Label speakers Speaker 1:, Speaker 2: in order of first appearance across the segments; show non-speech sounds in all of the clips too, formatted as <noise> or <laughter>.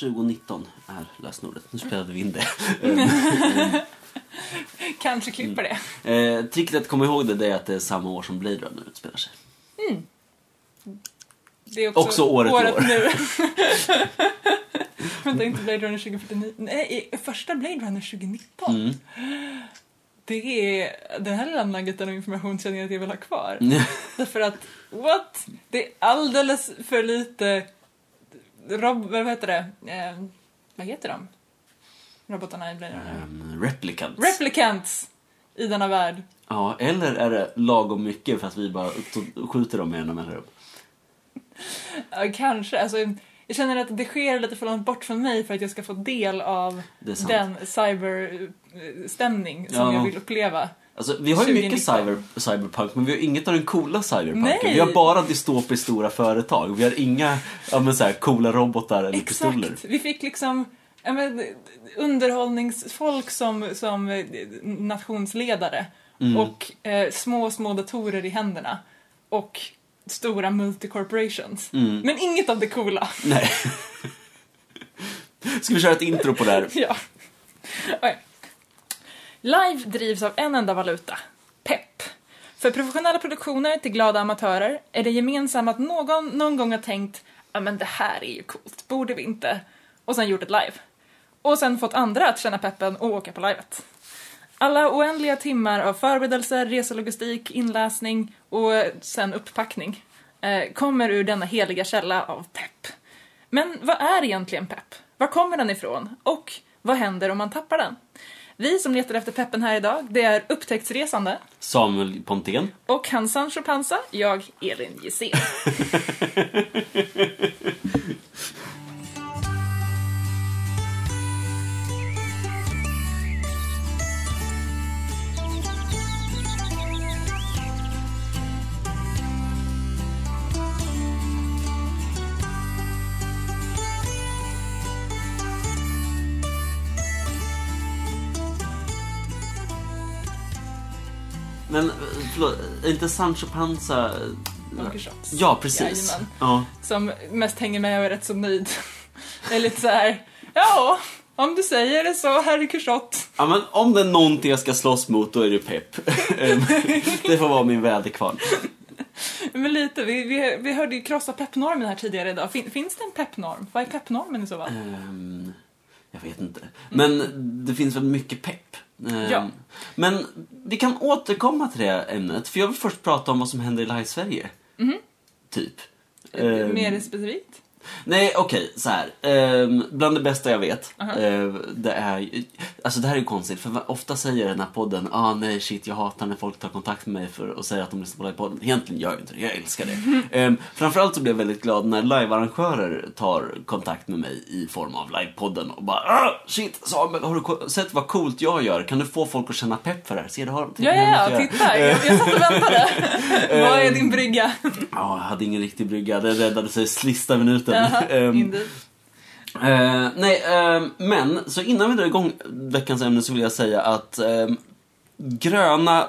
Speaker 1: 2019 är lösenordet. Nu spelade vi in det. <laughs>
Speaker 2: Kanske klipper det.
Speaker 1: Eh, tricket att komma ihåg det det är att det är samma år som Blade Runner utspelar sig.
Speaker 2: Det är också,
Speaker 1: Också året i år.
Speaker 2: nu.
Speaker 1: <laughs>
Speaker 2: Vänta, inte Blade Runner 2049. Nej, i- första Blade Runner 2019.
Speaker 1: Mm. <laughs>
Speaker 2: Det är, den här lilla nuggeten av information känner jag att jag vill ha kvar.
Speaker 1: Mm.
Speaker 2: Därför att, what? Det är alldeles för lite rob... Vad heter det? Eh, vad heter de? Robotarna i Blade Runner.
Speaker 1: Ehm, Replicants.
Speaker 2: Replicants! I denna värld.
Speaker 1: ja, eller är det lagom mycket för att vi bara to- skjuter dem med jämna mellanrum?
Speaker 2: Ja, kanske. Alltså, jag känner att det sker lite för långt bort från mig för att jag ska få del av
Speaker 1: Det är sant.
Speaker 2: den cyberstämning som
Speaker 1: Ja.
Speaker 2: jag vill uppleva.
Speaker 1: Alltså, vi har ju mycket
Speaker 2: 2019.
Speaker 1: cyber, cyberpunk, men vi har inget av den coola cyberpunken.
Speaker 2: Nej.
Speaker 1: Vi har bara dystopiskt stora företag. Vi har inga ja, men så här, coola robotar eller pistoler.
Speaker 2: Exakt. Vi fick liksom ja, men, underhållningsfolk som, som eh, nationsledare
Speaker 1: Mm.
Speaker 2: och eh, små, små datorer i händerna och stora multicorporations.
Speaker 1: Mm.
Speaker 2: Men inget av det coola.
Speaker 1: Nej. Ska vi köra ett intro på det här?
Speaker 2: <laughs> ja. Oj. Live drivs av en enda valuta, pepp. För professionella produktioner till glada amatörer är det gemensamma att någon någon gång har tänkt ja men det här är ju coolt, borde vi inte? Och sen gjort ett live. Och sen fått andra att känna peppen och åka på livet. Alla oändliga timmar av förberedelser, reselogistik, inläsning och sen upppackning eh, kommer ur denna heliga källa av pepp. Men vad är egentligen pepp? Var kommer den ifrån? Och vad händer om man tappar den? Vi som letar efter peppen här idag, det är upptäcktsresande
Speaker 1: Samuel Pontén.
Speaker 2: och hans Sancho Panza, jag Elin Gissén.
Speaker 1: Men eh, förlåt, är inte Sancho Panza... eh,
Speaker 2: Don Quixote.
Speaker 1: Ja, precis.
Speaker 2: Jajamän.
Speaker 1: Ja.
Speaker 2: Som mest hänger med och är rätt så nöjd. Det är lite så här, ja, om du säger det så, herr Quixote.
Speaker 1: ja, men om det är någonting jag ska slåss mot, då är det pepp.
Speaker 2: <laughs>
Speaker 1: Em, det får vara min väderkvarn.
Speaker 2: Men lite, vi, vi, vi hörde ju krossa peppnormen här tidigare idag. Fin, finns det en peppnorm? Vad är peppnormen i så fall?
Speaker 1: Em, Ehm, jag vet inte. Men det finns väl mycket pepp. Em,
Speaker 2: Ja.
Speaker 1: Men vi kan återkomma till det ämnet, för jag vill först prata om vad som händer i Live-Sverige. Typ. Ehm, Em,
Speaker 2: Mhm. Mer specifikt?
Speaker 1: Nej, okej, så här. Ehm, bland det bästa jag vet, eh, det är Alltså det här är ju konstigt, för va- ofta säger den här podden ah nej shit, jag hatar när folk tar kontakt med mig för och säger att de lyssnar på livepodden. Egentligen gör jag inte det, jag älskar det.
Speaker 2: <laughs>
Speaker 1: Ehm, framförallt så blir jag väldigt glad när livearrangörer tar kontakt med mig i form av livepodden och bara ah, shit, Samuel, har du ko- sett vad coolt jag gör? Kan du få folk att känna pepp för det här? Ser du, har de
Speaker 2: Ja, ja, ja, titta. Jag, jag satt och väntade.
Speaker 1: <laughs>
Speaker 2: Vad
Speaker 1: Ehm.
Speaker 2: är din brygga?
Speaker 1: Ja, jag hade ingen riktig brygga, det räddade sig sista minuten.
Speaker 2: Jaha,
Speaker 1: Ehm,
Speaker 2: Indeed.
Speaker 1: Eh, nej, eh, men så innan vi drar igång veckans ämne så vill jag säga att eh, gröna,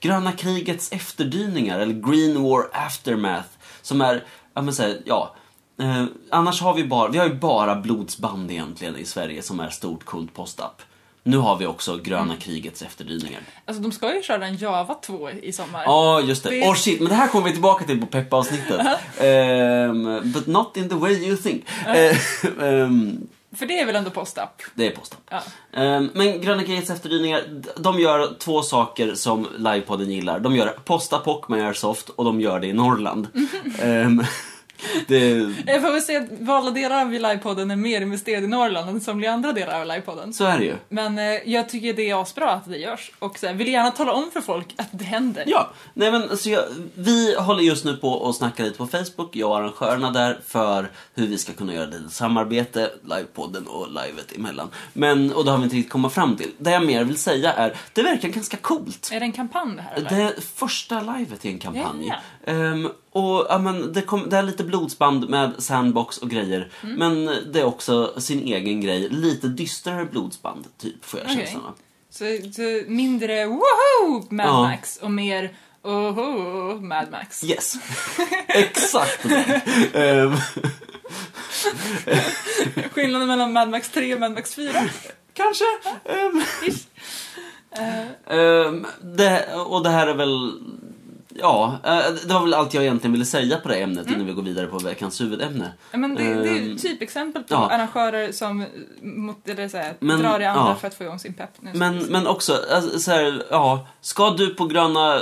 Speaker 1: gröna krigets efterdyningar, eller Green War Aftermath, som är, ja men säga, ja. Eh, annars har vi bara, vi har ju bara blodsband egentligen i Sverige som är stort coolt postapp. Nu har vi också gröna krigets efterdyningar.
Speaker 2: Alltså de ska ju köra en Java 2 i sommar.
Speaker 1: Ja, just det.
Speaker 2: Det-
Speaker 1: Åh shit, men det här kommer vi tillbaka till på peppavsnittet. Ehm, but not in the way you think. Eh, <laughs> ehm,
Speaker 2: För det är väl ändå postapp?
Speaker 1: det är postapp.
Speaker 2: Ja.
Speaker 1: Ehm, Men Gröna krigets efterdyningar, d- de gör två saker som livepodden gillar. De gör postapock med airsoft och de gör det i Norrland. Ehm, <laughs> det,
Speaker 2: Jag får väl se att valda delar av livepodden är mer investerade i Norrland än somliga andra delar av livepodden.
Speaker 1: så är det ju.
Speaker 2: Men eh, jag tycker det är asbra att det görs och så här, vill gärna tala om för folk att det händer.
Speaker 1: Ja, nej men alltså jag, vi håller just nu på och snackar lite på Facebook, jag och arrangörerna där, för hur vi ska kunna göra lite samarbete, livepodden och livet emellan. Men, och det har vi inte riktigt kommit fram till. Det jag mer vill säga är, det verkar ganska coolt.
Speaker 2: Är det en kampanj det här eller?
Speaker 1: Det första livet i en kampanj.
Speaker 2: Ja.
Speaker 1: Ehm, och ja, men det, kom, det är lite blodsband med sandbox och grejer.
Speaker 2: Mm.
Speaker 1: Men det är också sin egen grej. Lite dystrare blodsband, typ, får jag
Speaker 2: Okej.
Speaker 1: känslan av.
Speaker 2: Så, så mindre woho Mad
Speaker 1: Ja.
Speaker 2: Max och mer <laughs> oho Mad Max.
Speaker 1: Yes! Exakt det. Ehm,
Speaker 2: Skillnaden mellan Mad Max 3 och Mad Max 4.
Speaker 1: Kanske. Ehm,
Speaker 2: Eh,
Speaker 1: ehm, det, och det här är väl... Ja, eh, det var väl allt jag egentligen ville säga på det här
Speaker 2: Mm.
Speaker 1: ämnet innan vi går vidare på veckans huvudämne.
Speaker 2: Ja, men det, det är ju
Speaker 1: Ehm,
Speaker 2: typexempel på
Speaker 1: ja.
Speaker 2: arrangörer som eh, mot, eller så här,
Speaker 1: Men,
Speaker 2: drar i andra
Speaker 1: ja.
Speaker 2: för att få igång sin pepp. Nu.
Speaker 1: Men, men också, alltså, så här, ja, ska du på gröna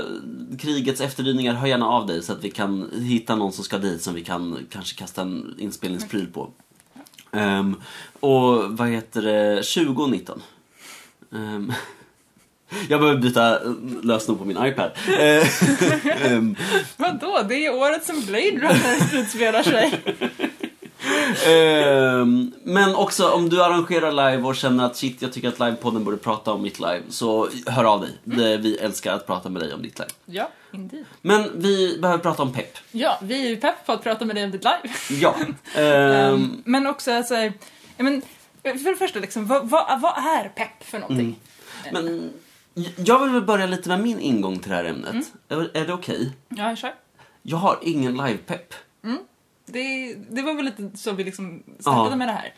Speaker 1: krigets efterdyningar, hör gärna av dig så att vi kan hitta någon som ska dit som vi kan kanske kasta en inspelningspryl på. Ehm, och vad heter det, 2019. Ehm, <laughs> jag behöver byta eh, lösenord på min iPad. Eh, ehm,
Speaker 2: Vadå? Det är året som Blade Runner <laughs> utspelar sig.
Speaker 1: ehm, men också om du arrangerar live och känner att shit, jag tycker att livepodden borde prata om mitt live, så hör av dig. Det, vi älskar att prata med dig om ditt live.
Speaker 2: ja, indeed.
Speaker 1: Men vi behöver prata om pepp.
Speaker 2: Ja, vi är ju pepp på att prata med dig om ditt live.
Speaker 1: Ja. Ehm,
Speaker 2: <laughs> Ehm, men också alltså, ja, men, för det första, liksom, vad, vad, vad är pepp för någonting? ehm.
Speaker 1: men jag vill väl börja lite med min ingång till det här ämnet.
Speaker 2: Mm.
Speaker 1: Är, är det okej?
Speaker 2: Ja, kör.
Speaker 1: Jag har ingen livepepp.
Speaker 2: Det, det var väl lite så vi liksom startade
Speaker 1: Ja.
Speaker 2: med det här.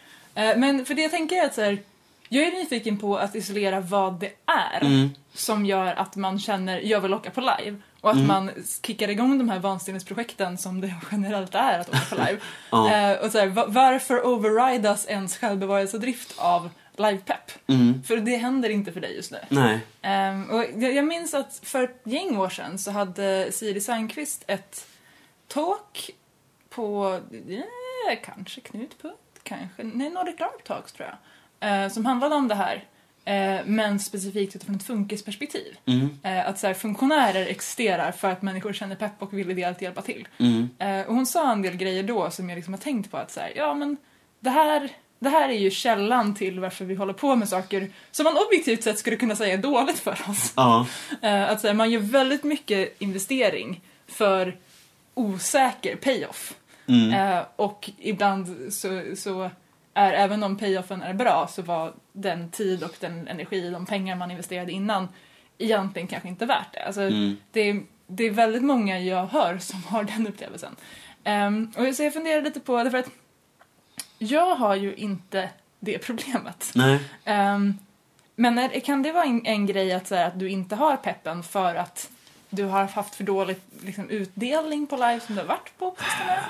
Speaker 2: Eh, Men för det jag tänker är att så här, jag är nyfiken på att isolera vad det är
Speaker 1: Mm.
Speaker 2: som gör att man känner jag vill åka på live och att man kickar igång de här vansinnesprojekten som det <laughs> generellt är att åka på live.
Speaker 1: Ja.
Speaker 2: Eh, och så här, va- varför overridas ens självbevarelsedrift av livepepp?
Speaker 1: Mm.
Speaker 2: För det händer inte för dig just nu.
Speaker 1: Nej.
Speaker 2: Ehm, och jag, jag minns att för ett gäng år sedan så hade Siri Sandqvist ett talk på, eh, kanske Knutpunkt, kanske, nej Nordic Dark Talks tror jag, eh, som handlade om det här, eh, men specifikt utifrån ett funkisperspektiv.
Speaker 1: Mm.
Speaker 2: Eh, att så här, funktionärer existerar för att människor känner pepp och vill ideellt hjälpa till.
Speaker 1: Mm.
Speaker 2: Eh, och hon sa en del grejer då som jag liksom har tänkt på att så här, ja men det här, det här är ju källan till varför vi håller på med saker som man objektivt sett skulle kunna säga är dåligt för oss.
Speaker 1: Ja.
Speaker 2: Eh, att så här, man gör väldigt mycket investering för osäker payoff.
Speaker 1: Mm.
Speaker 2: Eh, och ibland så, så är, även om payoffen är bra, så var den tid och den energi, de pengar man investerade innan egentligen kanske inte värt det. Alltså,
Speaker 1: Mm.
Speaker 2: det, är, det är väldigt många jag hör som har den upplevelsen. Ehm, och så jag funderar lite på, därför att jag har ju inte det problemet.
Speaker 1: Nej.
Speaker 2: Ehm, men är, kan det vara en, en grej att, så här, att du inte har peppen för att du har haft för dålig liksom, utdelning på live som du har varit på? på sistone?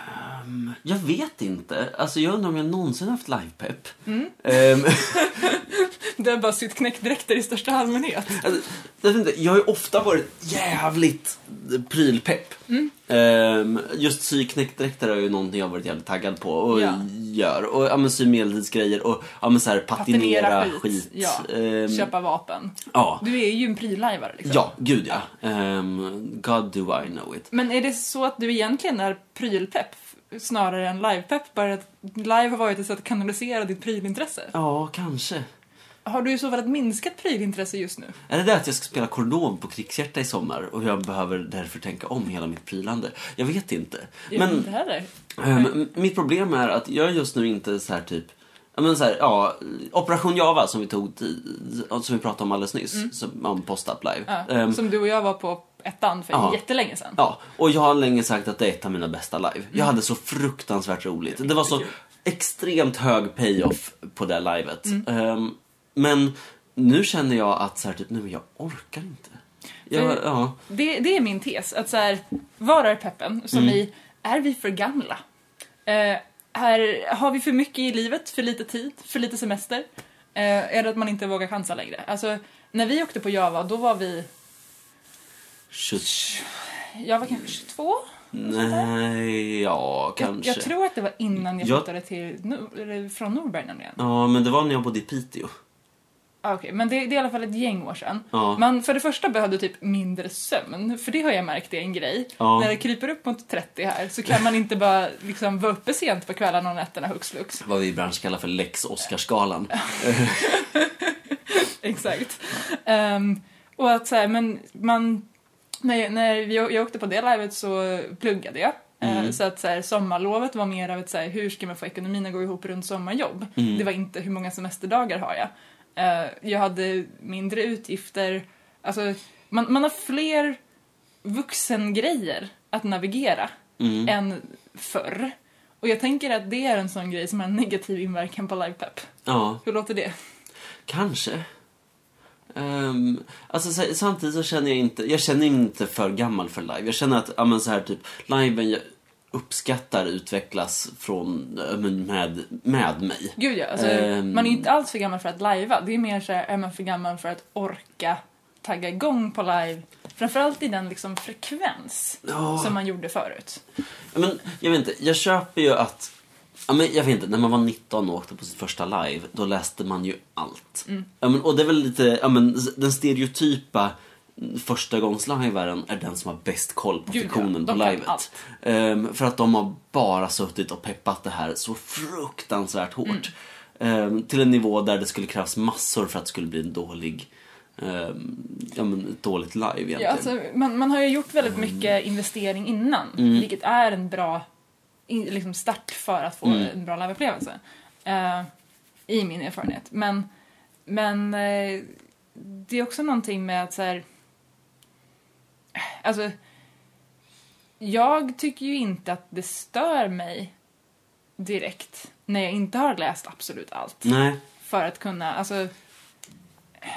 Speaker 1: Ehm, jag vet inte. Alltså jag undrar om jag någonsin haft livepepp.
Speaker 2: Mm.
Speaker 1: Ehm,
Speaker 2: Du har bara sytt knäckdräkter i största allmänhet.
Speaker 1: Alltså, jag, vet inte, jag har ju ofta varit jävligt prylpepp.
Speaker 2: Mm.
Speaker 1: Ehm, just sy knäckdräkter är ju någonting jag har varit jävligt taggad på och
Speaker 2: Ja.
Speaker 1: gör. Och ja, men sy medeltidsgrejer och ja, men så här, patinera,
Speaker 2: Patinera skit,
Speaker 1: skit.
Speaker 2: ja.
Speaker 1: Ehm,
Speaker 2: Köpa vapen.
Speaker 1: ja.
Speaker 2: Du är ju en prylajvare liksom.
Speaker 1: ja, gud ja. Ehm, God do I know it.
Speaker 2: Men är det så att du egentligen är prylpepp snarare än livepepp? Bara att live har varit ett sätt att kanalisera ditt prylintresse.
Speaker 1: Ja, kanske.
Speaker 2: Har du i så fall ett minskat prylintresse just nu?
Speaker 1: Är det det att jag ska spela kordon på Krigshjärta i sommar och jag behöver därför tänka om hela mitt prylande? Jag vet inte.
Speaker 2: Jag vet
Speaker 1: Men
Speaker 2: inte heller.
Speaker 1: Ehm, m- mitt problem är att jag just nu inte så här typ ja, men så här, ja, Operation Java som vi tog ti- som vi pratade om alldeles nyss, som om post-up live.
Speaker 2: Mm. Ja,
Speaker 1: Ehm,
Speaker 2: som du och jag var på ettan för
Speaker 1: ja.
Speaker 2: jättelänge sedan.
Speaker 1: ja, och jag har länge sagt att det är ett av mina bästa live. Jag
Speaker 2: Mm.
Speaker 1: hade så fruktansvärt roligt. Det var så extremt hög payoff på det livet.
Speaker 2: Mm.
Speaker 1: Ehm, men nu känner jag att så här, typ, nej men jag orkar inte. Jag,
Speaker 2: För-
Speaker 1: ja,
Speaker 2: Det, det är min tes. Att så här, var är peppen? Som
Speaker 1: Mm.
Speaker 2: i, är vi för gamla? Eh, här, har vi för mycket i livet, för lite tid, för lite semester? Eh, är det att man inte vågar chansa längre? Alltså, när vi åkte på Java, då var vi...
Speaker 1: shit.
Speaker 2: Jag var kanske 22?
Speaker 1: Nej, ja,
Speaker 2: Jag,
Speaker 1: kanske.
Speaker 2: jag tror att det var innan jag
Speaker 1: Jag-
Speaker 2: flyttade till, Nor- eller från Norberg nämligen.
Speaker 1: Ja, men det var när jag bodde i Piteå.
Speaker 2: Ah, Okej, men det, det är i alla fall ett gäng år sedan.
Speaker 1: Ja.
Speaker 2: Man, för det första behövde typ mindre sömn, för det har jag märkt är en grej.
Speaker 1: Ja.
Speaker 2: När det kryper upp mot 30 här så kan man inte bara liksom vara uppe sent på kvällarna och nätterna hux flux.
Speaker 1: vad vi i branschen kallar för lex Oscarsgalan.
Speaker 2: Exakt. Ehm, och att så här, men man... När, när vi, jag åkte på det livet så pluggade jag. Eh, Så att så här, sommarlovet var mer av ett så här, hur ska man få ekonomin att gå ihop runt sommarjobb? Det var inte hur många semesterdagar har jag? Eh, jag hade mindre utgifter. Alltså, man, man har fler
Speaker 1: Mm.
Speaker 2: vuxengrejer att navigera än förr. Och jag tänker att det är en sån grej som har en negativ inverkan på livepepp.
Speaker 1: Ja,
Speaker 2: Hur låter det?
Speaker 1: kanske. Ehm, alltså så, samtidigt så känner jag inte, jag känner mig inte för gammal för live. Jag känner att, ja men så här typ, liven jag uppskattar utvecklas från, ja, men med, med mig.
Speaker 2: Gud ja, alltså,
Speaker 1: Ehm.
Speaker 2: man är ju inte alls för gammal för att lajva. Det är mer så här, är man för gammal för att orka tagga igång på live? Framförallt i den liksom frekvens
Speaker 1: Ja.
Speaker 2: som man gjorde förut.
Speaker 1: Ja, Men, jag vet inte, jag köper ju att... Ja, men jag vet inte, när man var 19 och åkte på sitt första live, då läste man ju allt.
Speaker 2: Mm.
Speaker 1: Ja, men, och det är väl lite, ja, men, s- den stereotypa förstagångslajvaren är den som har bäst koll på
Speaker 2: Gud, ja.
Speaker 1: fiktionen på
Speaker 2: De kan
Speaker 1: livet.
Speaker 2: allt.
Speaker 1: Ehm, för att de har bara suttit och peppat det här så fruktansvärt hårt.
Speaker 2: Mm.
Speaker 1: Ehm, till en nivå där det skulle krävas massor för att det skulle bli en dålig, ehm, ja, men, ett dåligt live egentligen.
Speaker 2: Ja, alltså, man, man har ju gjort väldigt mycket investering innan, vilket är en bra in, liksom start för att få en bra liveupplevelse. eh, I min erfarenhet. Men, men eh, det är också någonting med att så här, Alltså, jag tycker ju inte att det stör mig direkt när jag inte har läst absolut allt.
Speaker 1: Nej.
Speaker 2: För att kunna, alltså... eh,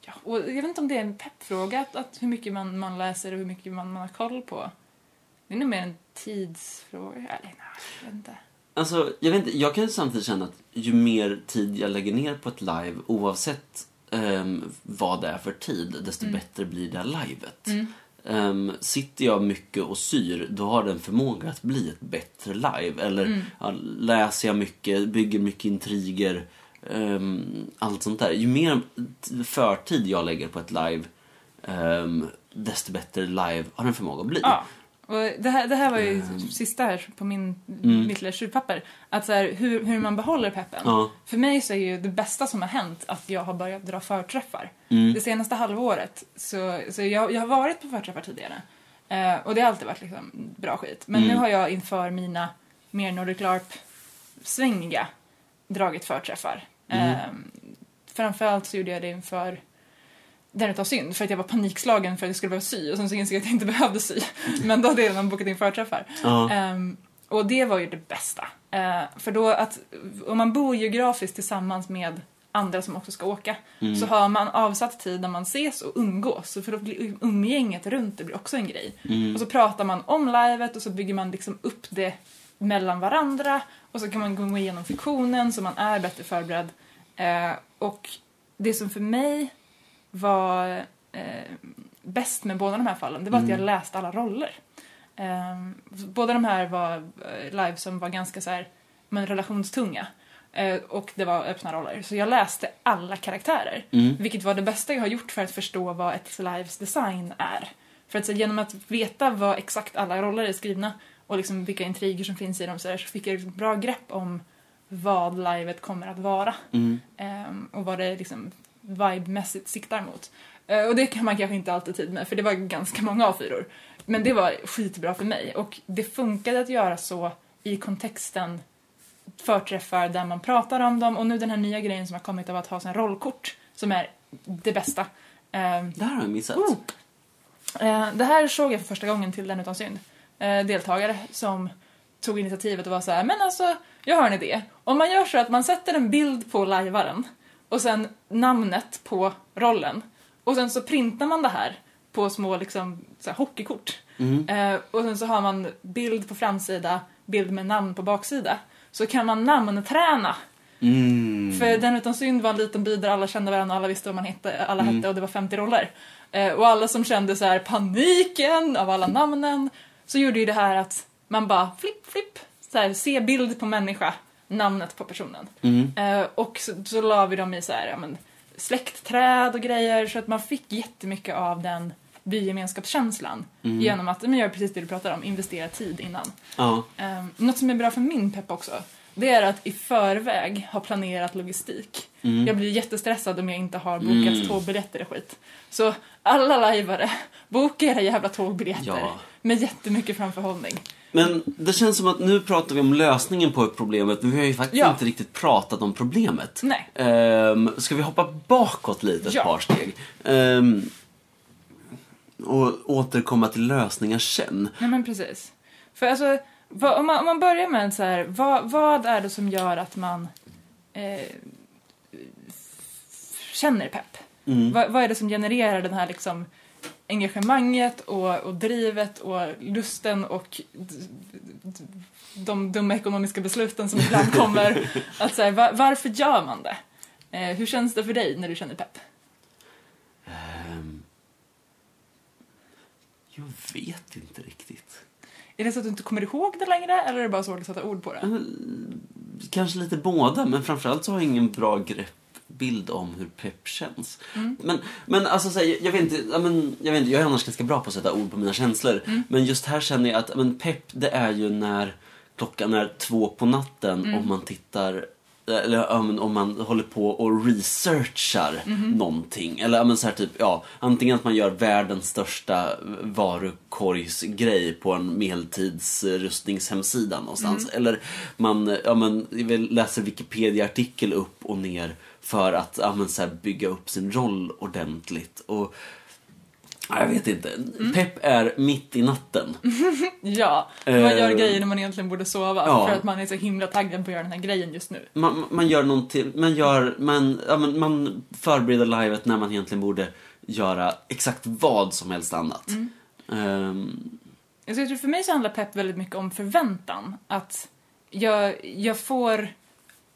Speaker 2: Ja, och jag vet inte om det är en peppfråga, att, att hur mycket man, man läser och hur mycket man, man har koll på. Det är nog mer en tidsfråga. Eller nej, jag vet inte.
Speaker 1: Alltså, jag, vet inte, jag kan ju samtidigt känna att ju mer tid jag lägger ner på ett live, oavsett ehm, vad det är för tid, desto
Speaker 2: Mm.
Speaker 1: bättre blir det här livet. Ehm, sitter jag mycket och syr, då har den förmåga att bli ett bättre live. Eller
Speaker 2: Mm.
Speaker 1: ja, läser jag mycket, bygger mycket intriger, ehm, allt sånt där. Ju mer t- förtid jag lägger på ett live, ehm, desto bättre live har den förmåga att bli.
Speaker 2: Ja. Och det, här, det här var ju sista här på min, mitt lilla tjuvpapper. Att så här, hur, hur man behåller peppen.
Speaker 1: Ja.
Speaker 2: För mig så är ju det bästa som har hänt att jag har börjat dra förträffar.
Speaker 1: Mm.
Speaker 2: Det senaste halvåret så, så jag, jag har varit på förträffar tidigare. Eh, och det har alltid varit liksom bra skit. Men nu har jag inför mina mer Nordic LARP-svängiga dragit förträffar. Eh, framförallt så gjorde jag det inför den utav synd för att jag var panikslagen för att jag skulle behöva sy och sen så insåg jag att jag inte <laughs> behövde sy. Men då hade jag redan bokat in förträffar.
Speaker 1: Ja.
Speaker 2: Ehm, och det var ju det bästa. Eh, för då att, om man bor geografiskt tillsammans med andra som också ska åka
Speaker 1: Mm.
Speaker 2: så har man avsatt tid när man ses och umgås. Så För då blir umgänget runt det blir också en grej.
Speaker 1: Mm.
Speaker 2: Och så pratar man om livet och så bygger man liksom upp det mellan varandra och så kan man gå igenom fiktionen så man är bättre förberedd. Eh, och det som för mig var eh, bäst med båda de här fallen, det var att jag läste alla roller. Eh, båda de här var eh, live som var ganska så här, men relationstunga. Eh, och det var öppna roller. Så jag läste alla karaktärer.
Speaker 1: Mm.
Speaker 2: Vilket var det bästa jag har gjort för att förstå vad ett lives design är. För att så, genom att veta vad exakt alla roller är skrivna och liksom vilka intriger som finns i dem så, där, så fick jag ett bra grepp om vad livet kommer att vara.
Speaker 1: Mm.
Speaker 2: Ehm, och vad det liksom vibemässigt siktar mot. Eh, och det kan man kanske inte alltid tid med för det var ganska många A4. Men det var skitbra för mig och det funkade att göra så i kontexten förträffar där man pratar om dem och nu den här nya grejen som har kommit av att ha sina rollkort som är det bästa. Ehm,
Speaker 1: Det här har jag missat.
Speaker 2: Oh. Eh, Det här såg jag för första gången till Den utan synd. Eh, Deltagare som tog initiativet och var så här, men alltså, jag har en idé. Om man gör så att man sätter en bild på lajvaren och sen namnet på rollen och sen så printar man det här på små liksom, så här, hockeykort. Eh, och sen så har man bild på framsida, bild med namn på baksida. Så kan man namnträna
Speaker 1: Mm.
Speaker 2: för Den utan synd var en liten by där alla kände varandra och alla visste vad man hette, alla hette och det var 50 roller. Eh, och alla som kände så här paniken av alla namnen så gjorde ju det här att man bara flipp, flipp, så här, se bild på människa, namnet på personen.
Speaker 1: Mm.
Speaker 2: Eh, och så, så la vi dem i så här, ja, men, släktträd och grejer så att man fick jättemycket av den bygemenskapskänslan genom att, men jag gör precis det du pratar om, investera tid innan.
Speaker 1: Ja.
Speaker 2: Um, något som är bra för min pepp också, det är att i förväg ha planerat logistik. Jag blir jättestressad om jag inte har bokat tågbiljetter och skit. Så alla lajvare, <laughs> boka era jävla tågbiljetter
Speaker 1: Ja.
Speaker 2: med jättemycket framförhållning.
Speaker 1: Men det känns som att nu pratar vi om lösningen på problemet, men vi har ju faktiskt
Speaker 2: Ja.
Speaker 1: inte riktigt pratat om problemet.
Speaker 2: Nej.
Speaker 1: Ehm, ska vi hoppa bakåt lite ett
Speaker 2: Ja.
Speaker 1: par steg? Ehm, och återkomma till lösningar sen.
Speaker 2: Nej men precis. För alltså, Vad, om, man, om man börjar med en så här, vad, vad är det som gör att man eh, f- känner pepp?
Speaker 1: Mm.
Speaker 2: Vad, vad är det som genererar den här liksom engagemanget och, och drivet och lusten och d- d- de dumma ekonomiska besluten som ibland kommer.
Speaker 1: <laughs>
Speaker 2: Att så här, va- varför gör man det? Eh, hur känns det för dig när du känner pepp?
Speaker 1: Ehm, jag vet inte riktigt.
Speaker 2: Är det så att du inte kommer ihåg det längre eller är det bara svårt att sätta ord på
Speaker 1: Mm.
Speaker 2: det?
Speaker 1: Kanske lite båda, men framförallt så har jag ingen bra greppbild om hur pepp känns. Men, men alltså, så här, jag, jag, vet inte, ja, men, jag vet inte, jag är annars ganska bra på att sätta ord på mina känslor. Men just här känner jag att ja, men pepp, det är ju när klockan är två på natten och man tittar eller ja, men om man håller på och researchar någonting. Eller ja, men så här, typ, ja, antingen att man gör världens största varukorgsgrej på en medeltidsrustningshemsida någonstans. Eller man ja, men, läser Wikipedia-artikel upp och ner för att ja, men, så här, bygga upp sin roll ordentligt. Och, ja, jag vet inte. Pepp är mitt i natten.
Speaker 2: Ja, man gör
Speaker 1: Eh,
Speaker 2: grejer när man egentligen borde sova
Speaker 1: ja.
Speaker 2: för att man är så himla taggad på att göra den här grejen just nu.
Speaker 1: man, man gör någonting, man gör, man, ja, men man förbereder livet när man egentligen borde göra exakt vad som helst annat. Ehm,
Speaker 2: Alltså jag tror för mig så handlar pepp väldigt mycket om förväntan. Att jag, jag får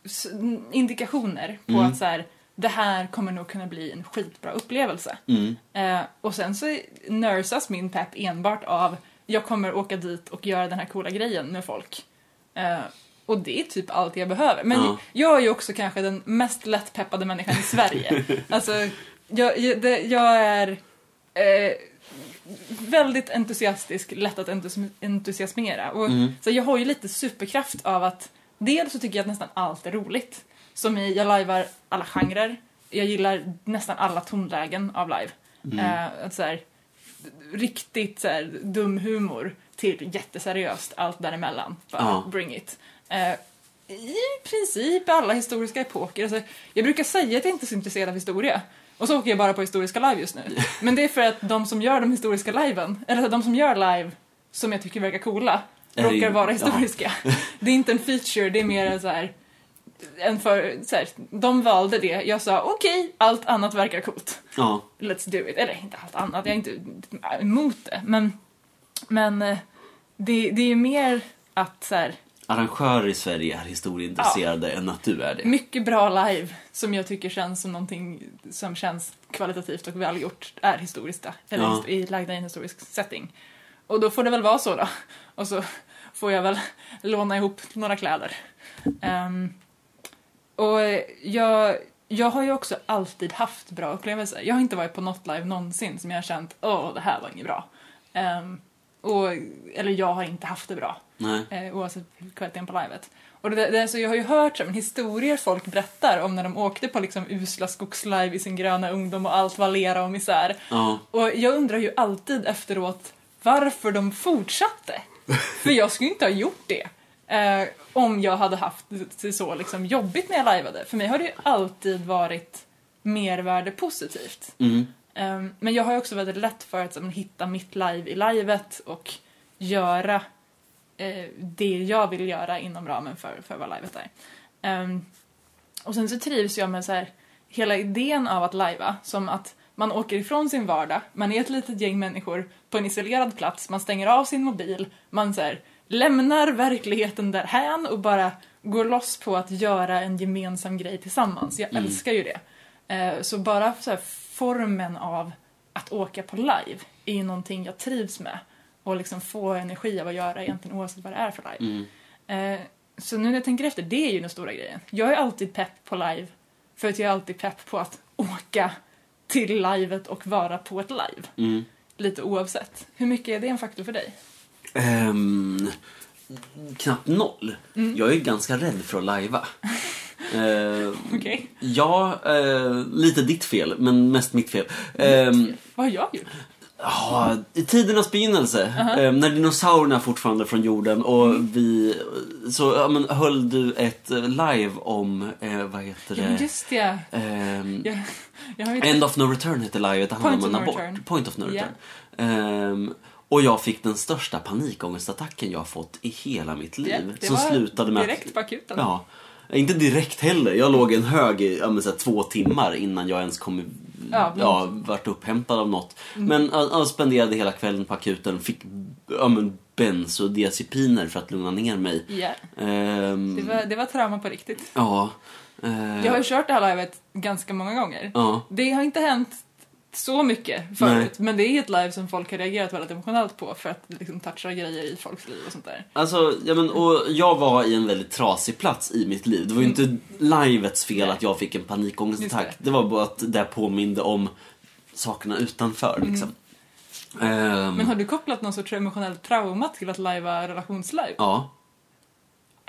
Speaker 2: s- indikationer på att så här, det här kommer nog kunna bli en skitbra upplevelse.
Speaker 1: mm,
Speaker 2: Eh, och sen så nörsas min pepp enbart av jag kommer åka dit och göra den här coola grejen med folk. Eh, och det är typ allt jag behöver. Men
Speaker 1: Ja.
Speaker 2: jag är ju också kanske den mest lättpeppade människan
Speaker 1: <laughs>
Speaker 2: i Sverige. alltså, jag, jag, det, jag är eh, väldigt entusiastisk, lätt att entusi- entusiasmera. Och,
Speaker 1: Mm.
Speaker 2: Så jag har ju lite superkraft av att dels så tycker jag att nästan allt är roligt. Som i, jag lajvar alla genrer. Jag gillar nästan alla tonlägen av live.
Speaker 1: mm.
Speaker 2: Eh, att så här, riktigt så här, dum humor till jätteseriöst, allt däremellan. Bara
Speaker 1: Ja.
Speaker 2: bring it. Eh, I princip alla historiska epoker. Alltså, jag brukar säga att jag inte är så intresserad av historia. Och så åker jag bara på historiska
Speaker 1: <laughs>
Speaker 2: live just nu. Men det är för att de som gör de historiska liven, eller de som gör live som jag tycker verkar coola,
Speaker 1: Är det-
Speaker 2: råkar vara
Speaker 1: ja. <laughs>
Speaker 2: historiska. Det är inte en feature, det är mer en så här, en för, så här, de valde det, jag sa okej, allt annat verkar coolt
Speaker 1: ja.
Speaker 2: let's do it. Eller inte allt annat, jag är inte emot det. Men, men eh, det, det är ju mer att så här,
Speaker 1: Arrangörer i Sverige är historieintresserade än att du är det.
Speaker 2: mycket bra live som jag tycker känns som någonting som känns kvalitativt och välgjort är historiskt. Eller
Speaker 1: Ja.
Speaker 2: hist- i, lagda i en historisk setting. Och då får det väl vara så då. Och så får jag väl <laughs> låna ihop några kläder. Ehm, och jag, jag har ju också alltid haft bra upplevelser. Jag har inte varit på något live någonsin som jag har känt åh, det här var inget bra. Ehm, och, eller jag har inte haft det bra.
Speaker 1: Nej.
Speaker 2: Eh, oavsett kvaliteten på livet. Och det, det, så jag har ju hört så, här, men historier folk berättar om när de åkte på liksom usla skogslive i sin gröna ungdom och allt var lera och misär.
Speaker 1: Ja.
Speaker 2: Och jag undrar ju alltid efteråt varför de fortsatte. För jag skulle inte ha gjort det. Eh, om jag hade haft det så liksom jobbigt när jag lajvade. För mig har det ju alltid varit mervärde positivt.
Speaker 1: Mm.
Speaker 2: Ehm, men jag har ju också väldigt lätt för att så, men, hitta mitt live i livet och göra eh, det jag vill göra inom ramen för, för vad livet är. Ehm, och sen så trivs jag med så här, hela idén av att lajva, som att man åker ifrån sin vardag, man är ett litet gäng människor på en isolerad plats, man stänger av sin mobil, man så här, lämnar verkligheten därhän och bara går loss på att göra en gemensam grej tillsammans. Jag älskar ju det. Eh, Så bara så här, formen av att åka på live är ju någonting jag trivs med och liksom få energi av att göra egentligen oavsett vad det är för live.
Speaker 1: Mm.
Speaker 2: Eh, så nu när jag tänker efter, det är ju den stora grejen. Jag är alltid pepp på live, för att jag är alltid pepp på att åka till livet och vara på ett live.
Speaker 1: Mm.
Speaker 2: Lite oavsett. Hur mycket är det en faktor för dig?
Speaker 1: Ehm, knappt noll. Jag är ganska rädd för att lajva. Ehm,
Speaker 2: Okej,
Speaker 1: Ja, eh, lite ditt fel, men mest mitt fel. Ehm,
Speaker 2: vad har jag gjort?
Speaker 1: Ja, i tidernas begynnelse,
Speaker 2: Uh-huh.
Speaker 1: eh, när dinosaurierna fortfarande är från jorden och
Speaker 2: Mm.
Speaker 1: vi, så ja, men, höll du ett eh, live om, eh, vad heter
Speaker 2: Ja, men
Speaker 1: det?
Speaker 2: just det.
Speaker 1: Ehm,
Speaker 2: Jag, jag har ju...
Speaker 1: End of no return hette livet, det handlar
Speaker 2: Point
Speaker 1: om en
Speaker 2: of no
Speaker 1: abort.
Speaker 2: return.
Speaker 1: Point of no return. Ehm, Och jag fick den största panikångestattacken jag fått i hela mitt liv.
Speaker 2: Det, det
Speaker 1: som
Speaker 2: var
Speaker 1: slutade med att-
Speaker 2: direkt på akuten.
Speaker 1: Ja. Inte direkt heller. Jag låg i en hög i ja, men, så här, två timmar innan jag ens kom, i-
Speaker 2: Ja, Mm.
Speaker 1: ja,
Speaker 2: men-
Speaker 1: vart upphämtad av något. Men jag, jag spenderade hela kvällen på akuten. Fick ja, men, bensodiazepiner för att lugna ner mig.
Speaker 2: Ja.
Speaker 1: Ehm,
Speaker 2: Det, var, det var trauma på riktigt.
Speaker 1: Ja. Eh,
Speaker 2: Jag har ju kört det här livet ganska många gånger.
Speaker 1: ja.
Speaker 2: Det har inte hänt så mycket förut, men det är ett live som folk har reagerat väldigt emotionellt på för att det liksom touchar grejer i folks liv och sånt där.
Speaker 1: Alltså, ja, men, och jag var i en väldigt trasig plats i mitt liv. Det var ju inte livets fel att jag fick en panikångestattack.
Speaker 2: Mm. Just
Speaker 1: Det. var bara att det påminde om sakerna utanför. Liksom. Ehm,
Speaker 2: Mm. Men har du kopplat någon sorts emotionellt trauma till att lajva relationslive?
Speaker 1: Ja,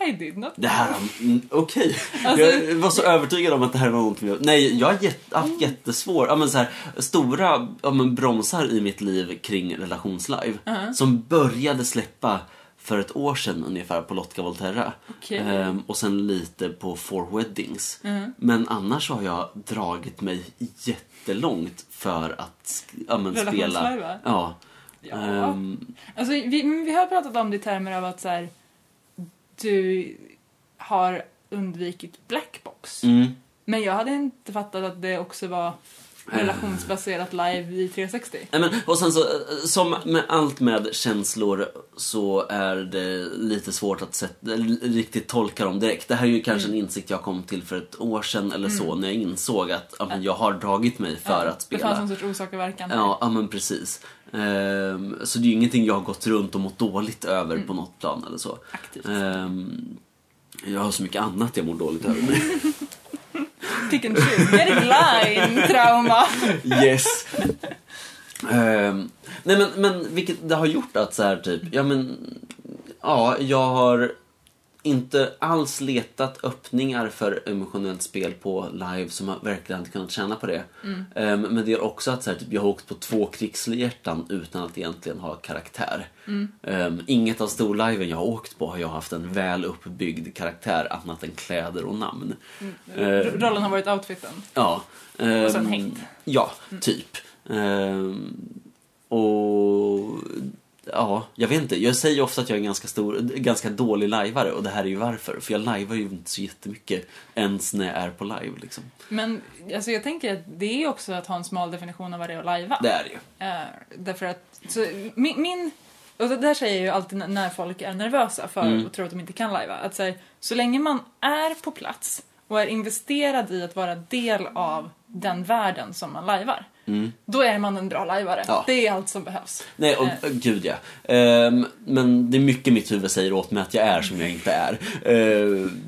Speaker 2: I did not.
Speaker 1: det här... mm, Okej.
Speaker 2: Alltså-
Speaker 1: jag var så övertygad om att det här var någonting jag... Nej, jag har jätt,
Speaker 2: Mm.
Speaker 1: haft jättesvår... Ja, men så här, stora ja, men, bromsar i mitt liv kring relationslive.
Speaker 2: Mm.
Speaker 1: Som började släppa för ett år sedan ungefär på Lotka Volterra.
Speaker 2: Okej.
Speaker 1: Ehm, och sen lite på Four Weddings.
Speaker 2: Mhm.
Speaker 1: Men annars har jag dragit mig jättelångt för att sk- ja, men, spela...
Speaker 2: Relationslive, va?
Speaker 1: Ja.
Speaker 2: Ja.
Speaker 1: Ehm,
Speaker 2: Alltså, vi, men vi har pratat om det i termer av att så här, du har undvikit blackbox.
Speaker 1: mm.
Speaker 2: Men jag hade inte fattat att det också var
Speaker 1: Ehm.
Speaker 2: relationsbaserat live i 360.
Speaker 1: Nej, men, och sen så, eh, som med allt med känslor så är det lite svårt att sätt, eller riktigt tolka dem direkt. Det här är ju kanske
Speaker 2: Mm.
Speaker 1: en insikt jag kom till för ett år sedan eller så när jag insåg att ja, men, jag har dragit mig för att
Speaker 2: Det fanns någon
Speaker 1: spela.
Speaker 2: sorts orsak och verkan.
Speaker 1: Ja, ja, men precis. Ehm, så det är ju ingenting jag har gått runt och mått dåligt över
Speaker 2: Mm.
Speaker 1: på något plan eller så.
Speaker 2: Aktivt.
Speaker 1: Ehm, jag har så mycket annat jag mår dåligt över. men-
Speaker 2: Pick and choose. Get in line, trauma.
Speaker 1: Yes. Ehm, nej men, men vilket det har gjort att så här typ, ja men, ja jag har inte alls letat öppningar för emotionellt spel på live som har verkligen hade kunnat tjäna på det. Ehm, men det är också att så här, typ, jag har åkt på två krigshjärtan utan att egentligen ha karaktär. Ehm, inget av storliven jag har åkt på har jag haft en väl uppbyggd karaktär annat än kläder och namn. Ehm,
Speaker 2: Rollen har varit outfiten.
Speaker 1: Ja. ehm,
Speaker 2: sen hängt. Mm.
Speaker 1: Ja, typ. Ehm, och... Ja, jag vet inte. Jag säger ju ofta att jag är en ganska, stor, ganska dålig lajvare och det här är ju varför. För jag lajvar ju inte så jättemycket ens när jag är på live liksom.
Speaker 2: Men alltså, jag tänker att det är också att ha en smal definition av vad det är att lajva.
Speaker 1: Det är det ju.
Speaker 2: Eh, därför att, så, min, min, och det där säger jag ju alltid n- när folk är nervösa för
Speaker 1: Mm.
Speaker 2: och tror att de inte kan lajva. Att så, här, så länge man är på plats och är investerad i att vara del av den världen som man lajvar.
Speaker 1: Mm.
Speaker 2: Då är man en bra lajvare.
Speaker 1: Ja.
Speaker 2: Det är allt som behövs.
Speaker 1: Nej, och,
Speaker 2: Eh.
Speaker 1: gud ja. Ehm, men det är mycket mitt huvud säger åt mig att jag är som jag inte är. Ehm,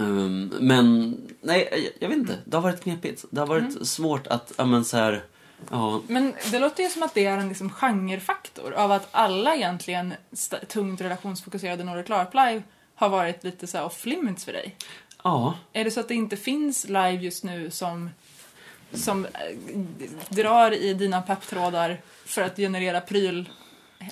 Speaker 1: ehm, men, nej, jag, jag vet inte. Det har varit knepigt. Det har
Speaker 2: Mm.
Speaker 1: varit svårt att, ja men så här, ja,
Speaker 2: Men det låter ju som att det är en liksom genrefaktor av att alla egentligen st- tungt relationsfokuserade Nordic Larp Live har varit lite så här off limits för dig.
Speaker 1: ja.
Speaker 2: Är det så att det inte finns live just nu som, som eh, drar i dina pepptrådar för att generera pryl eh,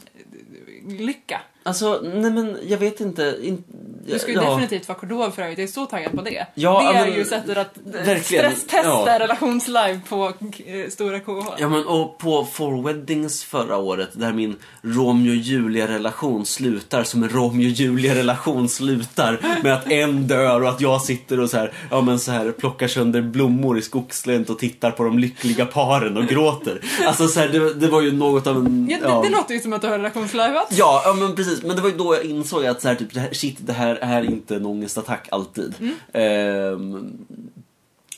Speaker 2: lycka.
Speaker 1: Alltså, nej men jag vet inte. In,
Speaker 2: Du ska ju
Speaker 1: ja,
Speaker 2: definitivt vara Cordova för övrigt, jag är så taggad på det.
Speaker 1: Ja,
Speaker 2: det är
Speaker 1: men-
Speaker 2: ju sättet att eh,
Speaker 1: verkligen.
Speaker 2: stresstesta
Speaker 1: Ja.
Speaker 2: relationslive på eh, stora KH.
Speaker 1: Ja men och på Four Weddings förra året där min Romeo och Julia relation slutar som en Romeo och Julia relation slutar med att en dör och att jag sitter och så här, ja men så här plockar sönder blommor i skogslönt och tittar på de lyckliga paren och gråter. Alltså så här, det, det var ju något av en...
Speaker 2: Ja, det, det låter ju som att du har relationslivat.
Speaker 1: Ja, ja men precis. Men det var ju då jag insåg att så här, typ, det här, shit, det här är inte en ångestattack alltid.
Speaker 2: Mm.
Speaker 1: Ehm,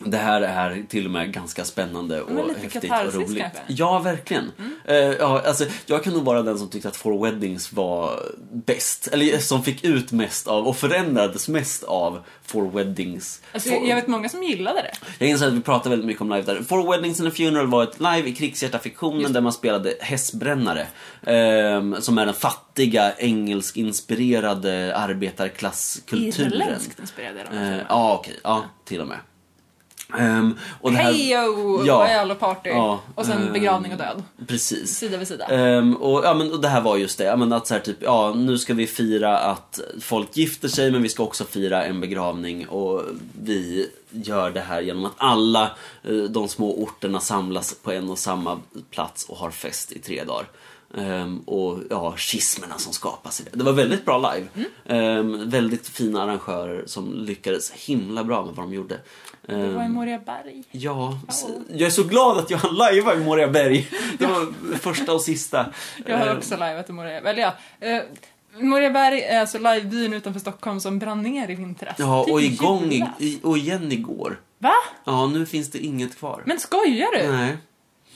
Speaker 1: det här är till och med ganska spännande
Speaker 2: men
Speaker 1: och
Speaker 2: lite
Speaker 1: häftigt och
Speaker 2: katarsis
Speaker 1: roligt.
Speaker 2: kanske? Mm.
Speaker 1: Ja, verkligen. Eh, ja, alltså, jag kan nog vara den som tyckte att Four Weddings var bäst. Eller som fick ut mest av och förändrades mest av Four Weddings.
Speaker 2: Alltså,
Speaker 1: Four-
Speaker 2: jag, jag vet många som gillade det.
Speaker 1: jag inser att vi pratar väldigt mycket om live där. Four Weddings and a Funeral var ett live i krigshjärta-fiktionen där man spelade hästbrännare. ehm, som är den fattiga engelskinspirerade arbetarklasskulturen.
Speaker 2: Irländskt inspirerade de.
Speaker 1: Eh, ja, okej. Ja, till och med. Ehm, och det här-
Speaker 2: Hej och
Speaker 1: Ja.
Speaker 2: öl och party.
Speaker 1: Ja,
Speaker 2: och sen
Speaker 1: ehm,
Speaker 2: begravning och död.
Speaker 1: Precis.
Speaker 2: Sida vid sida.
Speaker 1: Ehm, och, ja, men, och det här var just det, ja, men, att så här, typ, ja, nu ska vi fira att folk gifter sig men vi ska också fira en begravning och vi gör det här genom att alla eh, de små orterna samlas på en och samma plats och har fest i tre dagar. Ehm, och ja, schismerna som skapas. i det. Det var väldigt bra live.
Speaker 2: Mm.
Speaker 1: Ehm, väldigt fina arrangörer som lyckades himla bra med vad de gjorde.
Speaker 2: Det var i
Speaker 1: Ehm,
Speaker 2: Moriaberg.
Speaker 1: Ja, s- jag är så glad att jag hann lajva i Moriaberg. Det var första och sista.
Speaker 2: Jag har
Speaker 1: Ehm,
Speaker 2: också lajvat i Moriaberg. Eller ja, eh, Moriaberg är alltså livebyn utanför Stockholm som brann ner i vintras.
Speaker 1: Ja,
Speaker 2: Till
Speaker 1: och igång i,
Speaker 2: jula.
Speaker 1: i- och igen igår.
Speaker 2: Va?
Speaker 1: Ja, nu finns det inget kvar.
Speaker 2: Men skojar du?
Speaker 1: Nej.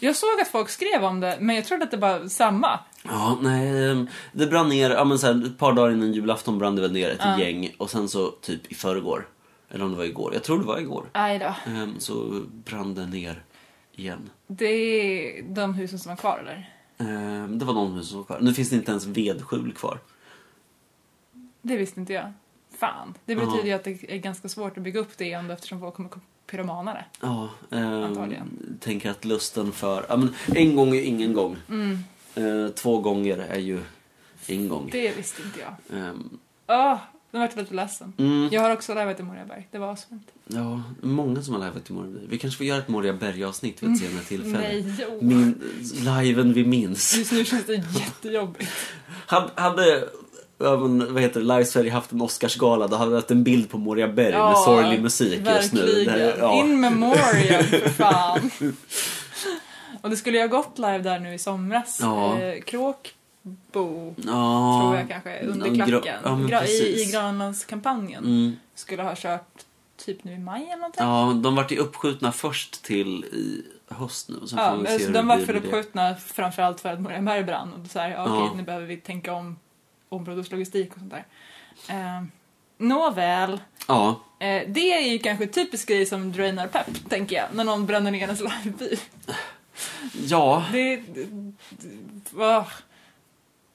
Speaker 2: Jag såg att folk skrev om det, men jag trodde att det var samma.
Speaker 1: Ja, nej. ehm, Det brann ner, ja men så här, ett par dagar innan julafton brann det väl ner ett
Speaker 2: Ja.
Speaker 1: gäng och sen så typ i förrgår. Eller om det var igår. Jag tror det var igår.
Speaker 2: Nej då.
Speaker 1: Ehm, Så brann det ner igen.
Speaker 2: Det är de husen som var kvar eller?
Speaker 1: Ehm, Det var någon hus som var kvar. Nu finns det inte ens vedskjul kvar.
Speaker 2: Det visste inte jag. Fan. Det
Speaker 1: Ja.
Speaker 2: betyder ju att det är ganska svårt att bygga upp det igen då, eftersom folk kommer pyromanare.
Speaker 1: Ja, ehm,
Speaker 2: Antagligen.
Speaker 1: tänker att lusten för... Ja, men en gång är ingen gång.
Speaker 2: Mm.
Speaker 1: Ehm, två gånger är ju en gång.
Speaker 2: Det visste inte jag.
Speaker 1: Ehm,
Speaker 2: Åh, nu vart jag lite ledsen.
Speaker 1: mm.
Speaker 2: Jag har också lajvat i Moriaberg. Det var asfint.
Speaker 1: Ja, många som har liveat i Moriaberg. Vi kanske får göra ett Moriaberg-avsnitt vid ett senare tillfälle.
Speaker 2: Mm. Nej, jo.
Speaker 1: Min, liven vi minns.
Speaker 2: Just nu känns det jättejobbigt.
Speaker 1: Hade, hade ja, men, vad heter det, Live Sverige haft en Oscarsgala då hade vi haft en bild på Moriaberg med
Speaker 2: Ja,
Speaker 1: sorglig musik just nu.
Speaker 2: Verkligen.
Speaker 1: Det- ja.
Speaker 2: In memoriam, för fan. Och det skulle jag gått live där nu i somras.
Speaker 1: Ja.
Speaker 2: Eh, Kråkbo,
Speaker 1: ja.
Speaker 2: tror jag kanske, under
Speaker 1: Ja, gra-
Speaker 2: klacken.
Speaker 1: ja, men
Speaker 2: Gra- I, I
Speaker 1: precis.
Speaker 2: Grönlandskampanjen.
Speaker 1: Mm.
Speaker 2: Skulle ha kört typ nu i maj eller någonting.
Speaker 1: Ja, de vart ju uppskjutna först till i höst nu. Sen
Speaker 2: Ja,
Speaker 1: får vi se
Speaker 2: men
Speaker 1: hur
Speaker 2: de
Speaker 1: det
Speaker 2: var
Speaker 1: blir
Speaker 2: för
Speaker 1: med det.
Speaker 2: uppskjutna framförallt för att Moriaberg brann. Och så här, ja, okej,
Speaker 1: Ja.
Speaker 2: nu behöver vi tänka om områdets logistik och sånt där. Eh, nåväl.
Speaker 1: Ja,
Speaker 2: Eh, det är ju kanske en typisk grej som drainar pepp, tänker jag, när någon bränner ner ens liveby.
Speaker 1: ja.
Speaker 2: Det... det, ah.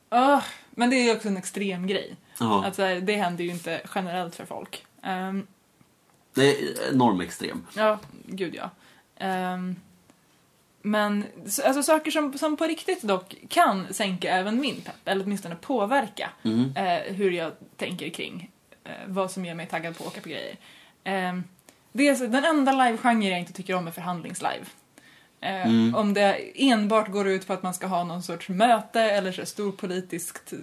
Speaker 2: Ah. Men det är ju också en extrem grej.
Speaker 1: ja.
Speaker 2: Att, så här, det händer ju inte generellt för folk. Ehm,
Speaker 1: Det är enorm extrem.
Speaker 2: Ja, gud ja. Ehm, men s- alltså, saker som, som på riktigt dock kan sänka även min pepp, eller åtminstone påverka
Speaker 1: Mm.
Speaker 2: eh, hur jag tänker kring eh, vad som gör mig taggad på att åka på grejer. Ehm, det är alltså, den enda livegenre jag inte tycker om är förhandlingslive. Eh,
Speaker 1: Mm.
Speaker 2: Om det enbart går ut på att man ska ha någon sorts möte eller så här stor politiskt eh,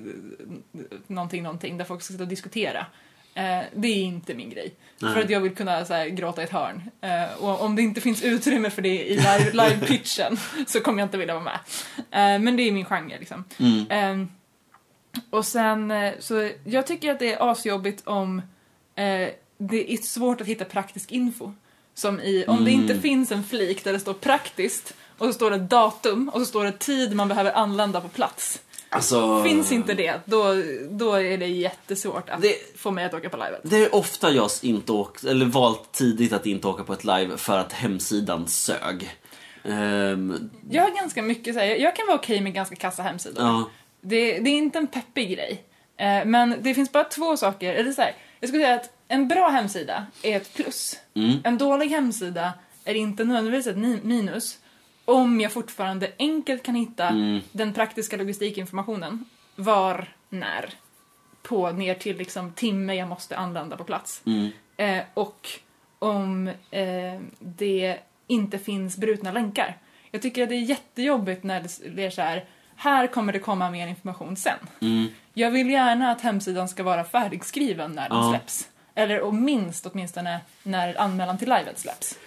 Speaker 2: någonting, någonting där folk ska sitta och diskutera. Eh, det är inte min grej.
Speaker 1: Nej.
Speaker 2: För att jag vill kunna så här, gråta i ett hörn. Eh, och om det inte finns utrymme för det i live- live-pitchen så kommer jag inte vilja vara med. Eh, men det är min genre liksom.
Speaker 1: Mm.
Speaker 2: Ehm, och sen, eh, så jag tycker att det är asjobbigt om eh, det är svårt att hitta praktisk info. Som i, om det
Speaker 1: Mm.
Speaker 2: inte finns en flik där det står praktiskt och så står det datum och så står det tid man behöver anlända på plats.
Speaker 1: Alltså...
Speaker 2: Finns inte det, då, då är det jättesvårt att
Speaker 1: Det-
Speaker 2: få mig att åka på livet.
Speaker 1: Det är ofta jag inte åkt, eller valt tidigt att inte åka på ett live för att hemsidan sög. Ehm,
Speaker 2: Jag har ganska mycket så här, jag, jag kan vara okej med ganska kassa hemsidor.
Speaker 1: ja,
Speaker 2: Det, det är inte en peppig grej. Eh, men det finns bara två saker, eller så här, jag skulle säga att en bra hemsida är ett plus.
Speaker 1: mm,
Speaker 2: En dålig hemsida är inte nödvändigtvis ett ni- minus om jag fortfarande enkelt kan hitta
Speaker 1: Mm.
Speaker 2: den praktiska logistikinformationen. Var, när, på ner till liksom timme jag måste anlända på plats.
Speaker 1: mm,
Speaker 2: Eh, och om eh, det inte finns brutna länkar. Jag tycker att det är jättejobbigt när det är så här, här kommer det komma mer information sen.
Speaker 1: mm.
Speaker 2: Jag vill gärna att hemsidan ska vara färdigskriven när den
Speaker 1: Ja.
Speaker 2: släpps. Eller och minst åtminstone när anmälan till livet släpps.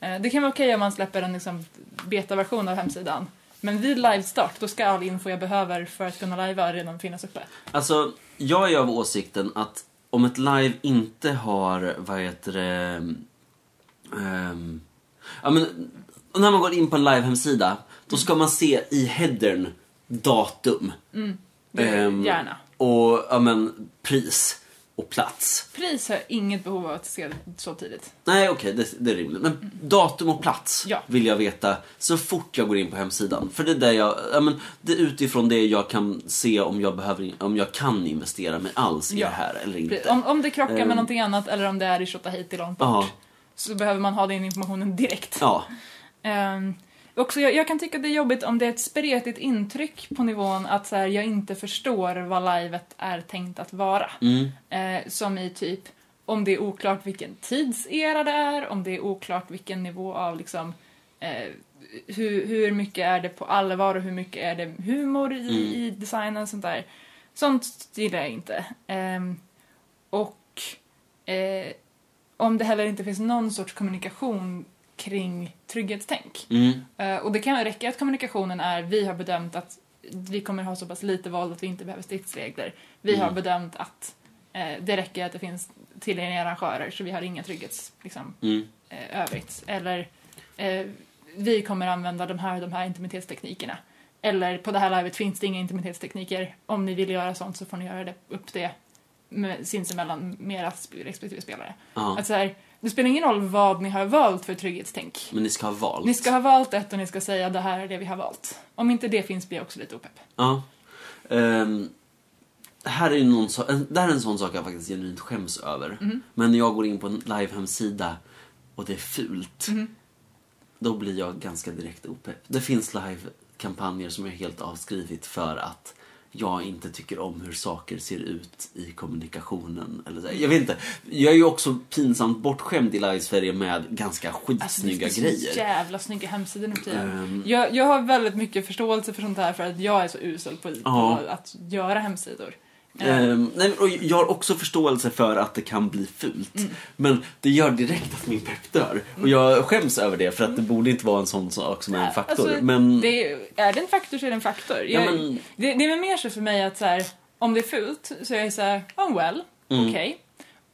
Speaker 2: Eh, Det kan vara okej om man släpper en liksom betaversion av hemsidan. Men vid livestart, då ska all info jag behöver för att kunna livea redan finnas uppe.
Speaker 1: Alltså, jag är av åsikten att om ett live inte har, vad heter det, ehm, ja men, när man går in på en live-hemsida, då ska man se i headern datum.
Speaker 2: Mm, Det-
Speaker 1: Ehm,
Speaker 2: Gärna.
Speaker 1: Och, ja men, pris och plats.
Speaker 2: Pris har jag inget behov av att se så tidigt.
Speaker 1: Nej, okej, det, det är rimligt. Men datum och plats
Speaker 2: Mm. Ja.
Speaker 1: vill jag veta så fort jag går in på hemsidan. För det är där jag, ja, men, det är utifrån det jag kan se om jag, behöver, in- om jag kan investera mig alls i
Speaker 2: Ja.
Speaker 1: det här eller inte.
Speaker 2: Pre- Om, om det krockar med
Speaker 1: Ehm.
Speaker 2: någonting annat eller om det är i Tjotahejti långt bort
Speaker 1: Ja,
Speaker 2: så behöver man ha den informationen direkt.
Speaker 1: ja,
Speaker 2: Ehm, också, jag, jag kan tycka att det är jobbigt om det är ett spretigt intryck på nivån att så här, jag inte förstår vad livet är tänkt att vara.
Speaker 1: mm,
Speaker 2: Eh, som i typ om det är oklart vilken tidsera det är, om det är oklart vilken nivå av liksom eh, hur, hur mycket är det på allvar och hur mycket är det humor i, i designen och sånt där. Sånt gillar jag inte. Ehm, och eh, om det heller inte finns någon sorts kommunikation kring trygghetstänk.
Speaker 1: Mm.
Speaker 2: Eh, och det kan räcka att kommunikationen är vi har bedömt att vi kommer ha så pass lite våld att vi inte behöver stridsregler. Vi har
Speaker 1: Mm.
Speaker 2: bedömt att eh, det räcker att det finns tillgängliga arrangörer så vi har inga trygghets... Liksom,
Speaker 1: Mm.
Speaker 2: eh, övrigt. Eller eh, vi kommer använda de här de här intimitetsteknikerna. Eller på det här livet finns det inga intimitetstekniker. Om ni vill göra sånt så får ni göra det, upp det med, sinsemellan med era sp- respektive spelare.
Speaker 1: Ja.
Speaker 2: Att så här, det spelar ingen roll vad ni har valt för trygghetstänk.
Speaker 1: Men ni ska ha valt.
Speaker 2: Ni ska ha valt ett och ni ska säga det här är det vi har valt. Om inte det finns blir jag också lite opepp.
Speaker 1: Ja. Ehm, här är ju någon so- en- det här är en sån sak jag faktiskt genuint skäms över.
Speaker 2: Mhm.
Speaker 1: Men när jag går in på en live-hemsida och det är fult,
Speaker 2: Mhm.
Speaker 1: då blir jag ganska direkt opepp. Det finns live-kampanjer som jag helt avskrivit för att jag inte tycker om hur saker ser ut i kommunikationen. Eller så. Jag vet inte. Jag är ju också pinsamt bortskämd i live-Sverige med ganska
Speaker 2: Alltså, det
Speaker 1: skitsnygga
Speaker 2: finns så
Speaker 1: grejer.
Speaker 2: jävla snygga hemsidor nu för tiden.
Speaker 1: Ehm.
Speaker 2: jag, jag har väldigt mycket förståelse för sånt här för att jag är så usel på,
Speaker 1: Ja.
Speaker 2: på att göra hemsidor. Eh,
Speaker 1: Ehm, nej, men- och jag har också förståelse för att det kan bli fult.
Speaker 2: Mm.
Speaker 1: Men det gör direkt att min pepp dör. Och jag skäms över det för att det borde inte vara en sån sak som är en faktor.
Speaker 2: Mm. Alltså,
Speaker 1: men,
Speaker 2: det är, är det en faktor så är det en faktor.
Speaker 1: Ja,
Speaker 2: Jag,
Speaker 1: men-
Speaker 2: det, det är väl mer så för mig att så här, om det är fult så är jag så här, oh well,
Speaker 1: Mm.
Speaker 2: okej.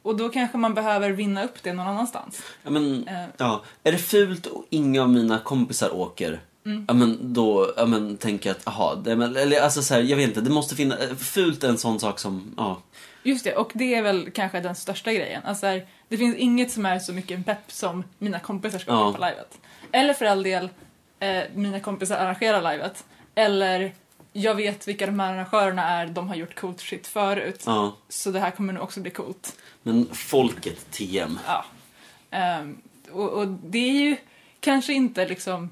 Speaker 2: Och då kanske man behöver vinna upp det någon annanstans.
Speaker 1: ja, men,
Speaker 2: Eh.
Speaker 1: ja, är det fult och inga av mina kompisar åker
Speaker 2: Mm.
Speaker 1: Ja men då, ja men tänker jag att, aha, det, men, eller alltså så här, jag vet inte, det måste finnas, fult är en sån sak som, ja.
Speaker 2: Just det, och det är väl kanske den största grejen. Alltså här, det finns inget som är så mycket en pepp som mina kompisar ska
Speaker 1: Ja.
Speaker 2: ha på livet. Eller för all del, eh, mina kompisar arrangerar livet. Eller, jag vet vilka de här arrangörerna är, de har gjort coolt shit förut.
Speaker 1: ja.
Speaker 2: Så det här kommer nog också bli coolt.
Speaker 1: Men folket TM.
Speaker 2: Ja. Ehm, och, och det är ju kanske inte liksom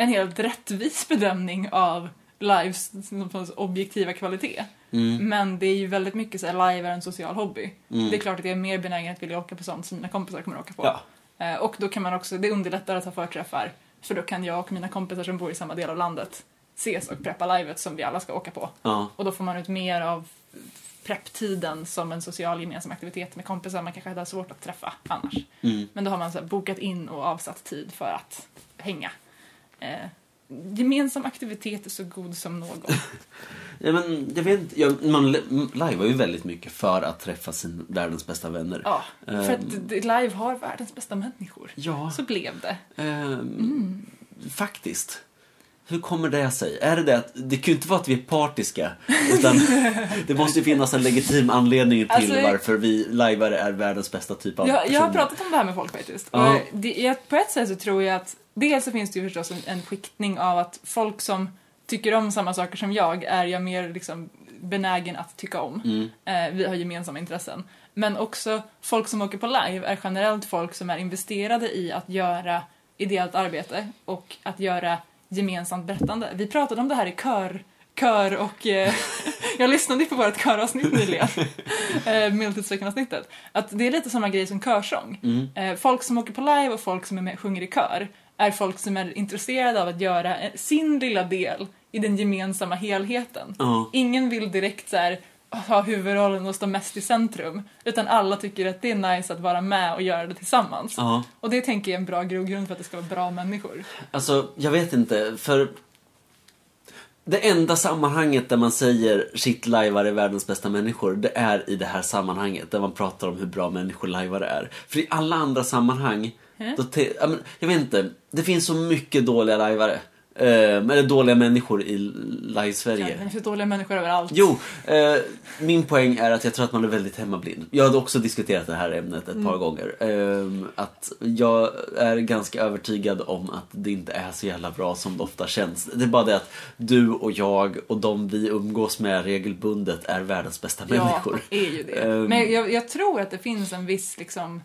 Speaker 2: en helt rättvis bedömning av lives någon sorts objektiva kvalitet.
Speaker 1: Mm.
Speaker 2: Men det är ju väldigt mycket så här, live är en social hobby.
Speaker 1: Mm.
Speaker 2: Det är klart att jag är mer benägen att vilja åka på sånt som mina kompisar kommer att åka på.
Speaker 1: Ja.
Speaker 2: Eh, och då kan man också, det underlättar att ha förträffar. För då kan jag och mina kompisar som bor i samma del av landet ses och preppa livet som vi alla ska åka på.
Speaker 1: Ja.
Speaker 2: Och då får man ut mer av prepptiden som en social gemensam aktivitet med kompisar man kanske hade svårt att träffa annars.
Speaker 1: Mm.
Speaker 2: Men då har man så här bokat in och avsatt tid för att hänga. Eh, gemensam aktivitet är så god
Speaker 1: <laughs>
Speaker 2: som någon.
Speaker 1: Ja, men, jag vet inte, jag, man li- lajvar ju väldigt mycket för att träffa sin, världens bästa vänner.
Speaker 2: Ja, för att
Speaker 1: Ehm.
Speaker 2: det- live har världens bästa människor.
Speaker 1: Ja,
Speaker 2: Så Mm. blev det.
Speaker 1: ehm, faktiskt. Hur kommer det sig? Är det det att, det kan ju inte vara att vi är partiska. Utan
Speaker 2: <laughs>
Speaker 1: det måste ju finnas en legitim anledning till
Speaker 2: Alltså-
Speaker 1: varför vi lajvare är världens bästa typ av
Speaker 2: Jag, jag har
Speaker 1: personer.
Speaker 2: pratat om det här med folk faktiskt.
Speaker 1: Ja.
Speaker 2: Och det, jag, på ett sätt så tror jag att dels så finns det ju förstås en, en skiktning av att folk som tycker om samma saker som jag är jag mer liksom benägen att tycka om.
Speaker 1: Mm.
Speaker 2: Eh, vi har gemensamma intressen. Men också folk som åker på live är generellt folk som är investerade i att göra ideellt arbete och att göra gemensamt berättande. Vi pratade om det här i kör, kör och eh, <laughs> jag lyssnade ju på vårt köravsnitt nyligen, eh, medeltidsveckan-avsnittet. Att det är lite samma grej som körsång.
Speaker 1: Mm.
Speaker 2: Eh, folk som åker på live och folk som är med, sjunger i kör är folk som är intresserade av att göra eh, sin lilla del i den gemensamma helheten.
Speaker 1: Ja.
Speaker 2: Ingen vill direkt så här, "Ah, ha huvudrollen och stå mest i centrum, utan alla tycker att det är nice att vara med och göra det tillsammans.
Speaker 1: ja.
Speaker 2: Och det tänker jag är en bra grogrund för att det ska vara bra människor.
Speaker 1: Alltså, jag vet inte, för det enda sammanhanget där man säger shit lajvar är världens bästa människor, det är i det här sammanhanget där man pratar om hur bra människor lajvare är. För i alla andra sammanhang, då te- ja, men, jag vet inte, det finns så mycket dåliga lajvare. Ehm, eller dåliga människor i
Speaker 2: Ja,
Speaker 1: live-Sverige.
Speaker 2: det finns ju dåliga människor överallt.
Speaker 1: Jo, eh, min poäng är att jag tror att man är väldigt hemmablind. Jag hade också diskuterat det här ämnet ett par gånger. Ehm, att jag är ganska övertygad om att det inte är så jävla bra som det ofta känns. Det är bara det att du och jag och de vi umgås med regelbundet är världens bästa
Speaker 2: Ja,
Speaker 1: människor.
Speaker 2: är ju det.
Speaker 1: Ehm.
Speaker 2: Men jag, jag tror att det finns en viss liksom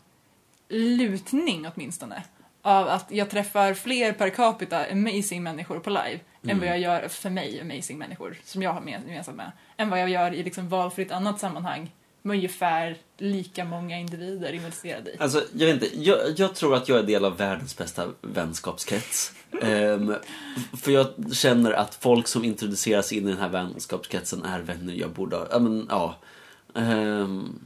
Speaker 2: lutning åtminstone av att jag träffar fler per capita amazing människor på live
Speaker 1: Mm.
Speaker 2: än vad jag gör, för mig, amazing människor som jag har med- gemensamt med, än vad jag gör i liksom valfritt annat sammanhang med ungefär lika många individer investerade i.
Speaker 1: Alltså, jag vet inte. Jag, jag tror att jag är del av världens bästa vänskapskrets. Ehm, för jag känner att folk som introduceras in i den här vänskapskretsen är vänner jag borde ha. Ja, men, ja. Ehm,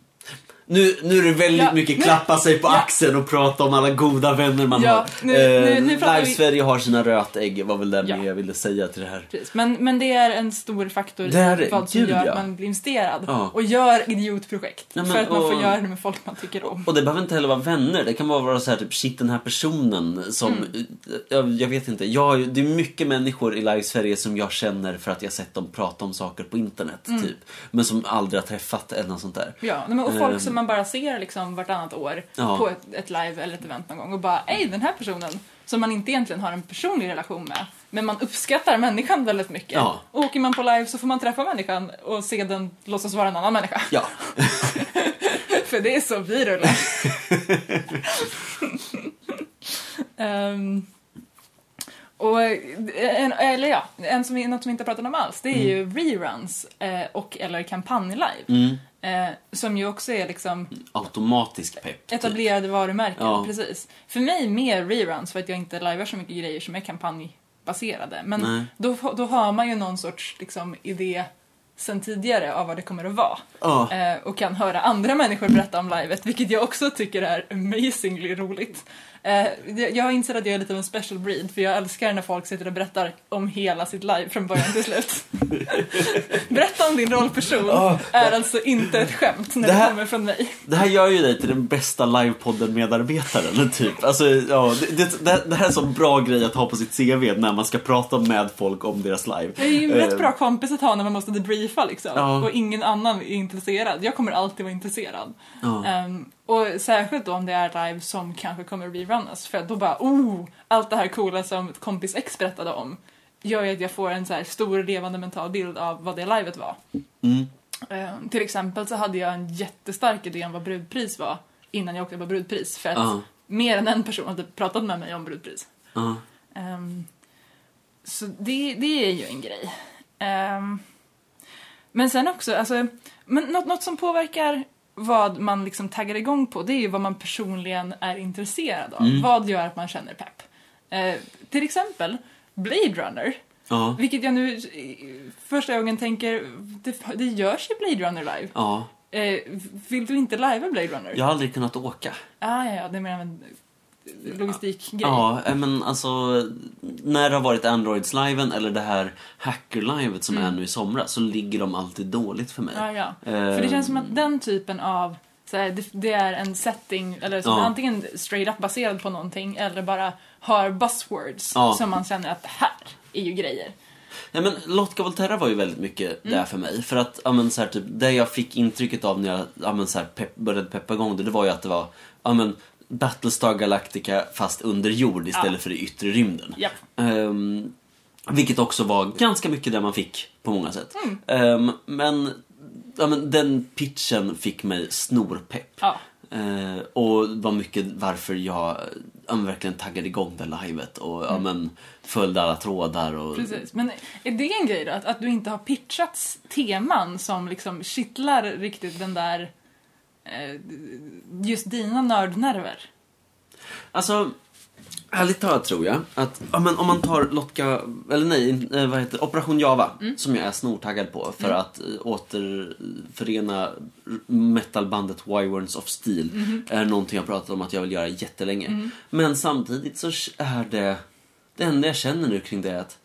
Speaker 1: nu, nu är det väldigt
Speaker 2: Ja,
Speaker 1: mycket
Speaker 2: nu-
Speaker 1: klappa sig på
Speaker 2: ja.
Speaker 1: axeln och prata om alla goda vänner man
Speaker 2: Ja,
Speaker 1: har.
Speaker 2: nu-
Speaker 1: Ehm,
Speaker 2: nu- nu pratar vi-
Speaker 1: Live-Sverige har sina rötägg, var väl det
Speaker 2: Ja.
Speaker 1: jag ville säga till det här.
Speaker 2: Precis. Men, men det är en stor faktor
Speaker 1: Det är
Speaker 2: i
Speaker 1: det.
Speaker 2: vad som
Speaker 1: Gud,
Speaker 2: gör
Speaker 1: ja.
Speaker 2: att man blir investerad.
Speaker 1: Ja.
Speaker 2: Och gör idiotprojekt.
Speaker 1: Ja, men,
Speaker 2: för att man får
Speaker 1: och-
Speaker 2: göra det med folk man tycker om.
Speaker 1: Och det behöver inte heller vara vänner, det kan bara vara så här typ shit den här personen som,
Speaker 2: Mm.
Speaker 1: jag, jag vet inte, jag, har ju- det är mycket människor i live Sverige som jag känner för att jag sett dem prata om saker på internet
Speaker 2: Mm.
Speaker 1: typ. Men som aldrig har träffat eller något sånt där.
Speaker 2: Ja, nej, men och folk
Speaker 1: Ehm.
Speaker 2: som man bara ser liksom vartannat år
Speaker 1: Ja.
Speaker 2: på ett, ett live eller ett event någon gång och bara ej den här personen” som man inte egentligen har en personlig relation med, men man uppskattar människan väldigt mycket.
Speaker 1: Ja.
Speaker 2: Och åker man på live så får man träffa människan och se den låtsas vara en annan människa. <laughs>
Speaker 1: Ja,
Speaker 2: För det är så
Speaker 1: <laughs>
Speaker 2: vi rullar. Ehm, och en, eller ja, en som, vi- något som vi inte pratat om alls, det är ju reruns eh, och eller kampanjlive.
Speaker 1: mm.
Speaker 2: Eh, som ju också är liksom
Speaker 1: automatisk pepp. typ.
Speaker 2: etablerade varumärken,
Speaker 1: Ja.
Speaker 2: precis. För mig mer reruns för att jag inte livear så mycket grejer som är kampanjbaserade.
Speaker 1: Nej.
Speaker 2: Men då, då har man ju någon sorts liksom, idé sen tidigare av vad det kommer att vara.
Speaker 1: Ja.
Speaker 2: Eh, och kan höra andra människor berätta om livet, vilket jag också tycker är amazingly roligt. Eh, jag- jag inser att jag är lite av en special breed, för jag älskar när folk sitter och berättar om hela sitt liv från början
Speaker 1: <laughs>
Speaker 2: till slut. Berätta om din rollperson
Speaker 1: Ah, Ja.
Speaker 2: är alltså inte ett skämt när
Speaker 1: Det
Speaker 2: det,
Speaker 1: här-
Speaker 2: kommer från mig.
Speaker 1: Det här gör ju dig till den bästa livepodden-medarbetaren, <laughs> typ. Alltså, ja, det, det- det, det här är en sån bra grej att ha på sitt CV när man ska prata med folk om deras live.
Speaker 2: Jag är ju en
Speaker 1: Eh,
Speaker 2: rätt bra kompis att ha när man måste debriefa liksom.
Speaker 1: Ja.
Speaker 2: Och ingen annan är intresserad. Jag kommer alltid vara intresserad.
Speaker 1: ja.
Speaker 2: Ehm, och särskilt då om det är live som kanske kommer rerunnas. För då bara oh, allt det här coola som ett kompis ex berättade om gör ju att jag får en så här stor levande mental bild av vad det livet var.
Speaker 1: Mm.
Speaker 2: Ehm, till exempel så hade jag en jättestark idé om vad brudpris var innan jag åkte på brudpris. För att
Speaker 1: Ja.
Speaker 2: mer än en person hade pratat med mig om brudpris.
Speaker 1: Ja.
Speaker 2: Ehm, så det, det är ju en grej. Ehm, men sen också, alltså, men något, något som påverkar vad man liksom taggar igång på det är ju vad man personligen är intresserad av.
Speaker 1: Mm.
Speaker 2: Vad gör att man känner pepp? Eh, till exempel Blade Runner,
Speaker 1: Ja.
Speaker 2: vilket jag nu eh, första gången tänker, det, det görs ju Blade Runner live.
Speaker 1: Ja.
Speaker 2: Eh, vill du inte livea Blade Runner?
Speaker 1: Jag har aldrig kunnat åka.
Speaker 2: Ah, ja, ja, det är mer av en eh, logistikgrej.
Speaker 1: Ja, eh, men alltså när det har varit Androids-liven eller det här hacker-livet som är nu i somras så ligger de alltid dåligt för mig.
Speaker 2: Mm. Ja, ja.
Speaker 1: Ehm,
Speaker 2: För det känns som att den typen av så här, det, det är en setting, eller som
Speaker 1: Ja.
Speaker 2: antingen straight up baserad på någonting eller bara har buzzwords
Speaker 1: Ja.
Speaker 2: som man känner att det här är ju grejer.
Speaker 1: Nej, men Lotka Volterra var ju väldigt mycket
Speaker 2: Mm.
Speaker 1: där för mig. För att, ja, men, så här, typ, det jag fick intrycket av när jag ja, men, så här, pepp, började peppa igång det, det var ju att det var ja, men, Battlestar Galactica fast under jord istället
Speaker 2: Ja.
Speaker 1: för i yttre rymden.
Speaker 2: Japp.
Speaker 1: Ehm, vilket också var ganska mycket det man fick på många sätt. Ehm, men, ja, men den pitchen fick mig snorpepp.
Speaker 2: Ja.
Speaker 1: Eh, och var mycket varför jag ja, men verkligen taggade igång det livet och ja, men, följde alla trådar. Och,
Speaker 2: Precis. Men är det en grej då? Att, att du inte har pitchats teman som liksom kittlar riktigt den där eh, just dina nördnerver?
Speaker 1: Alltså, ärligt talat tror jag att ja, men om man tar Lotka, eller nej, eh, vad heter det? Operation Java, som jag är snortaggad på för att eh, återförena metalbandet Wyverns of Steel är någonting jag pratat om att jag vill göra jättelänge. Men samtidigt så är det, det enda jag känner nu kring det är att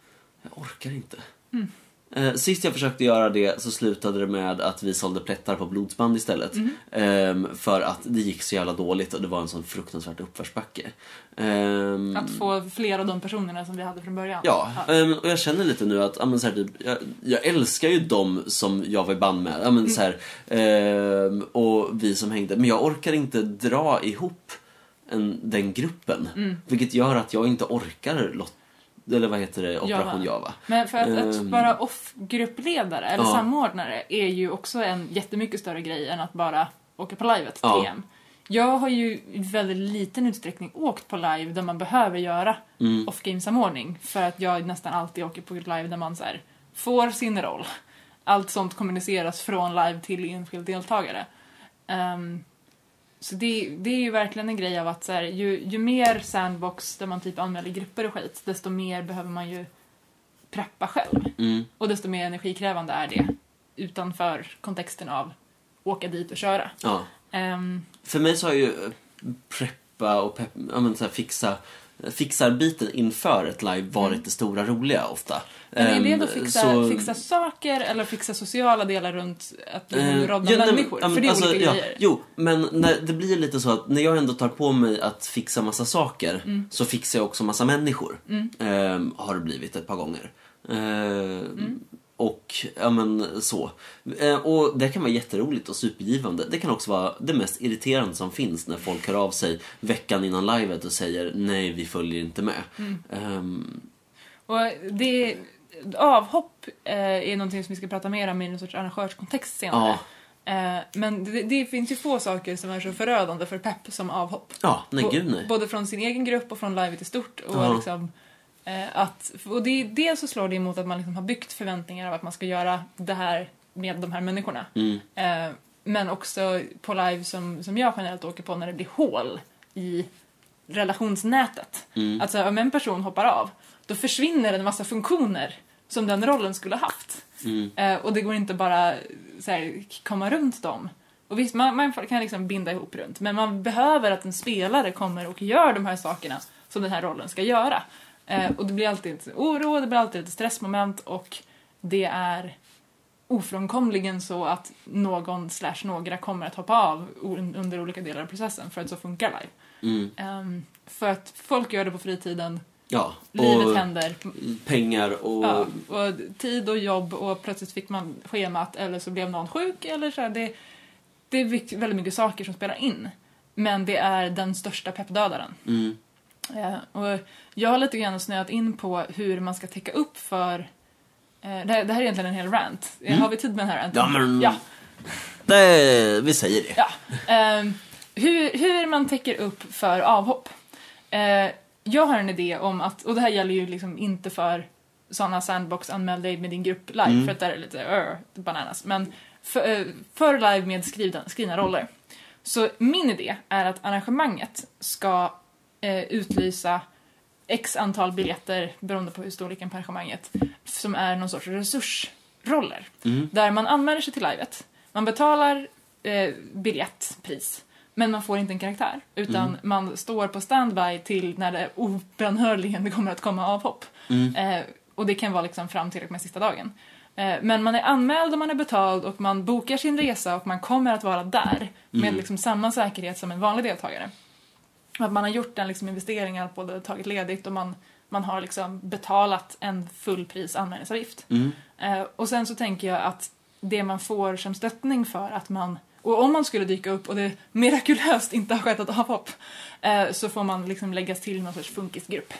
Speaker 1: jag orkar inte.
Speaker 2: Mm.
Speaker 1: Eh, Sist jag försökte göra det så slutade det med att vi sålde plättar på blodsband istället.
Speaker 2: Mm.
Speaker 1: Ehm, för att det gick så jävla dåligt och det var en sån fruktansvärt uppförsbacke. Ehm,
Speaker 2: Att få fler av de personerna som vi hade från början?
Speaker 1: Ja, ehm, och jag känner lite nu att ja, men så här, typ, jag, jag älskar ju dem som jag var i band med. Ja, men, så här, ehm, och vi som hängde. Men jag orkar inte dra ihop en, den gruppen.
Speaker 2: Mm.
Speaker 1: Vilket gör att jag inte orkar Lot- eller vad heter det, Operation Java.
Speaker 2: Java. Men för att, att
Speaker 1: Ehm.
Speaker 2: vara off-gruppledare eller
Speaker 1: Ja.
Speaker 2: samordnare är ju också en jättemycket större grej än att bara åka på live ett
Speaker 1: Ja.
Speaker 2: TM. Jag har ju i väldigt liten utsträckning åkt på live där man behöver göra
Speaker 1: Mm,
Speaker 2: off-game-samordning för att jag nästan alltid åker på live där man så här får sin roll. Allt sånt kommuniceras från live till enskild deltagare. Ehm, så det, det är ju verkligen en grej av att så här, ju, ju mer sandbox där man typ anmäler grupper och skit, desto mer behöver man ju preppa själv.
Speaker 1: Mm.
Speaker 2: Och desto mer energikrävande är det utanför kontexten av åka dit och köra.
Speaker 1: Ja.
Speaker 2: Ehm,
Speaker 1: För mig så har ju eh, preppa och pepp, ja, men så här, fixa Fixarbiten inför ett live varit det stora roliga ofta.
Speaker 2: Mm. men är det
Speaker 1: Ehm,
Speaker 2: då fixa,
Speaker 1: så-
Speaker 2: fixa saker eller fixa sociala delar runt att bli
Speaker 1: Eh,
Speaker 2: en radda
Speaker 1: ja, nej, men,
Speaker 2: människor?
Speaker 1: ja, men
Speaker 2: För det är
Speaker 1: alltså,
Speaker 2: olika
Speaker 1: ja,
Speaker 2: grejer.
Speaker 1: Jo, men när, det blir ju lite så att när jag ändå tar på mig att fixa massa saker
Speaker 2: Mm.
Speaker 1: så fixar jag också massa människor. Ehm, har det blivit ett par gånger. Ehm,
Speaker 2: Mm.
Speaker 1: Och ja men så. Ehm, och det kan vara jätteroligt och supergivande. Det kan också vara det mest irriterande som finns när folk hör av sig veckan innan livet och säger nej vi följer inte med.
Speaker 2: Mm.
Speaker 1: Ehm,
Speaker 2: Och det, avhopp eh, är någonting som vi ska prata mer om i en sorts arrangörskontext senare.
Speaker 1: ja,
Speaker 2: Eh, men det, det finns ju få saker som är så förödande för pepp som avhopp.
Speaker 1: ja, nej
Speaker 2: Bo-
Speaker 1: gud nej.
Speaker 2: Både från sin egen grupp och från livet i stort. Och,
Speaker 1: Ja.
Speaker 2: liksom, eh, att, och det, dels så slår det emot att man liksom har byggt förväntningar av att man ska göra det här med de här människorna.
Speaker 1: Mm.
Speaker 2: Eh, men också på live som, som jag generellt åker på när det blir hål i relationsnätet. Alltså om en person hoppar av, då försvinner en massa funktioner som den rollen skulle ha haft.
Speaker 1: Mm.
Speaker 2: Eh, och det går inte bara så här, komma runt dem. Och visst, man, man kan liksom binda ihop runt, men man behöver att en spelare kommer och gör de här sakerna som den här rollen ska göra. Eh, och det blir alltid lite oro, det blir alltid lite stressmoment och det är ofrånkomligen så att någon slash några kommer att hoppa av o- under olika delar av processen för att så funkar live.
Speaker 1: Mm.
Speaker 2: Ehm, för att folk gör det på fritiden,
Speaker 1: Ja,
Speaker 2: livet
Speaker 1: och
Speaker 2: händer,
Speaker 1: pengar och
Speaker 2: ja, och tid och jobb och plötsligt fick man schemat eller så blev någon sjuk eller så här, det, det är vik- väldigt mycket saker som spelar in. Men det är den största peppdödaren.
Speaker 1: Mm.
Speaker 2: Eh, och jag har lite grann snöat in på hur man ska täcka upp för... Eh, det, här, det här är egentligen en hel rant. Eh, Har vi tid med den här ranten?
Speaker 1: Mm. Ja, men-
Speaker 2: Ja,
Speaker 1: Det, vi säger det.
Speaker 2: ja. Ehm, hur, hur man täcker upp för avhopp. Eh, jag har en idé om att, och det här gäller ju liksom inte för sådana sandbox anmäl dig med din grupp live
Speaker 1: Mm.
Speaker 2: för att där är det lite öh, bananas. Men för, eh, för live med skrivna, skrivna roller. Så min idé är att arrangemanget ska eh, utlysa x antal biljetter beroende på hur storleken på arrangemanget som är någon sorts resursroller.
Speaker 1: Mm.
Speaker 2: Där man anmäler sig till livet. Man betalar eh, biljettpris men man får inte en karaktär utan
Speaker 1: Mm.
Speaker 2: man står på standby till när det obönhörligen kommer att komma avhopp.
Speaker 1: Mm.
Speaker 2: Eh, och det kan vara liksom fram till och med sista dagen. Eh, men man är anmäld och man är betald och man bokar sin resa och man kommer att vara där med
Speaker 1: Mm.
Speaker 2: liksom samma säkerhet som en vanlig deltagare. Och Att man har gjort en liksom investering, att både tagit ledigt och man, man har liksom betalat en fullpris anmälningsavgift.
Speaker 1: Mm.
Speaker 2: Eh, och sen så tänker jag att det man får som stöttning för att man och om man skulle dyka upp och det mirakulöst inte har skett ett avhopp eh, så får man liksom läggas till i någon sorts funkisgrupp.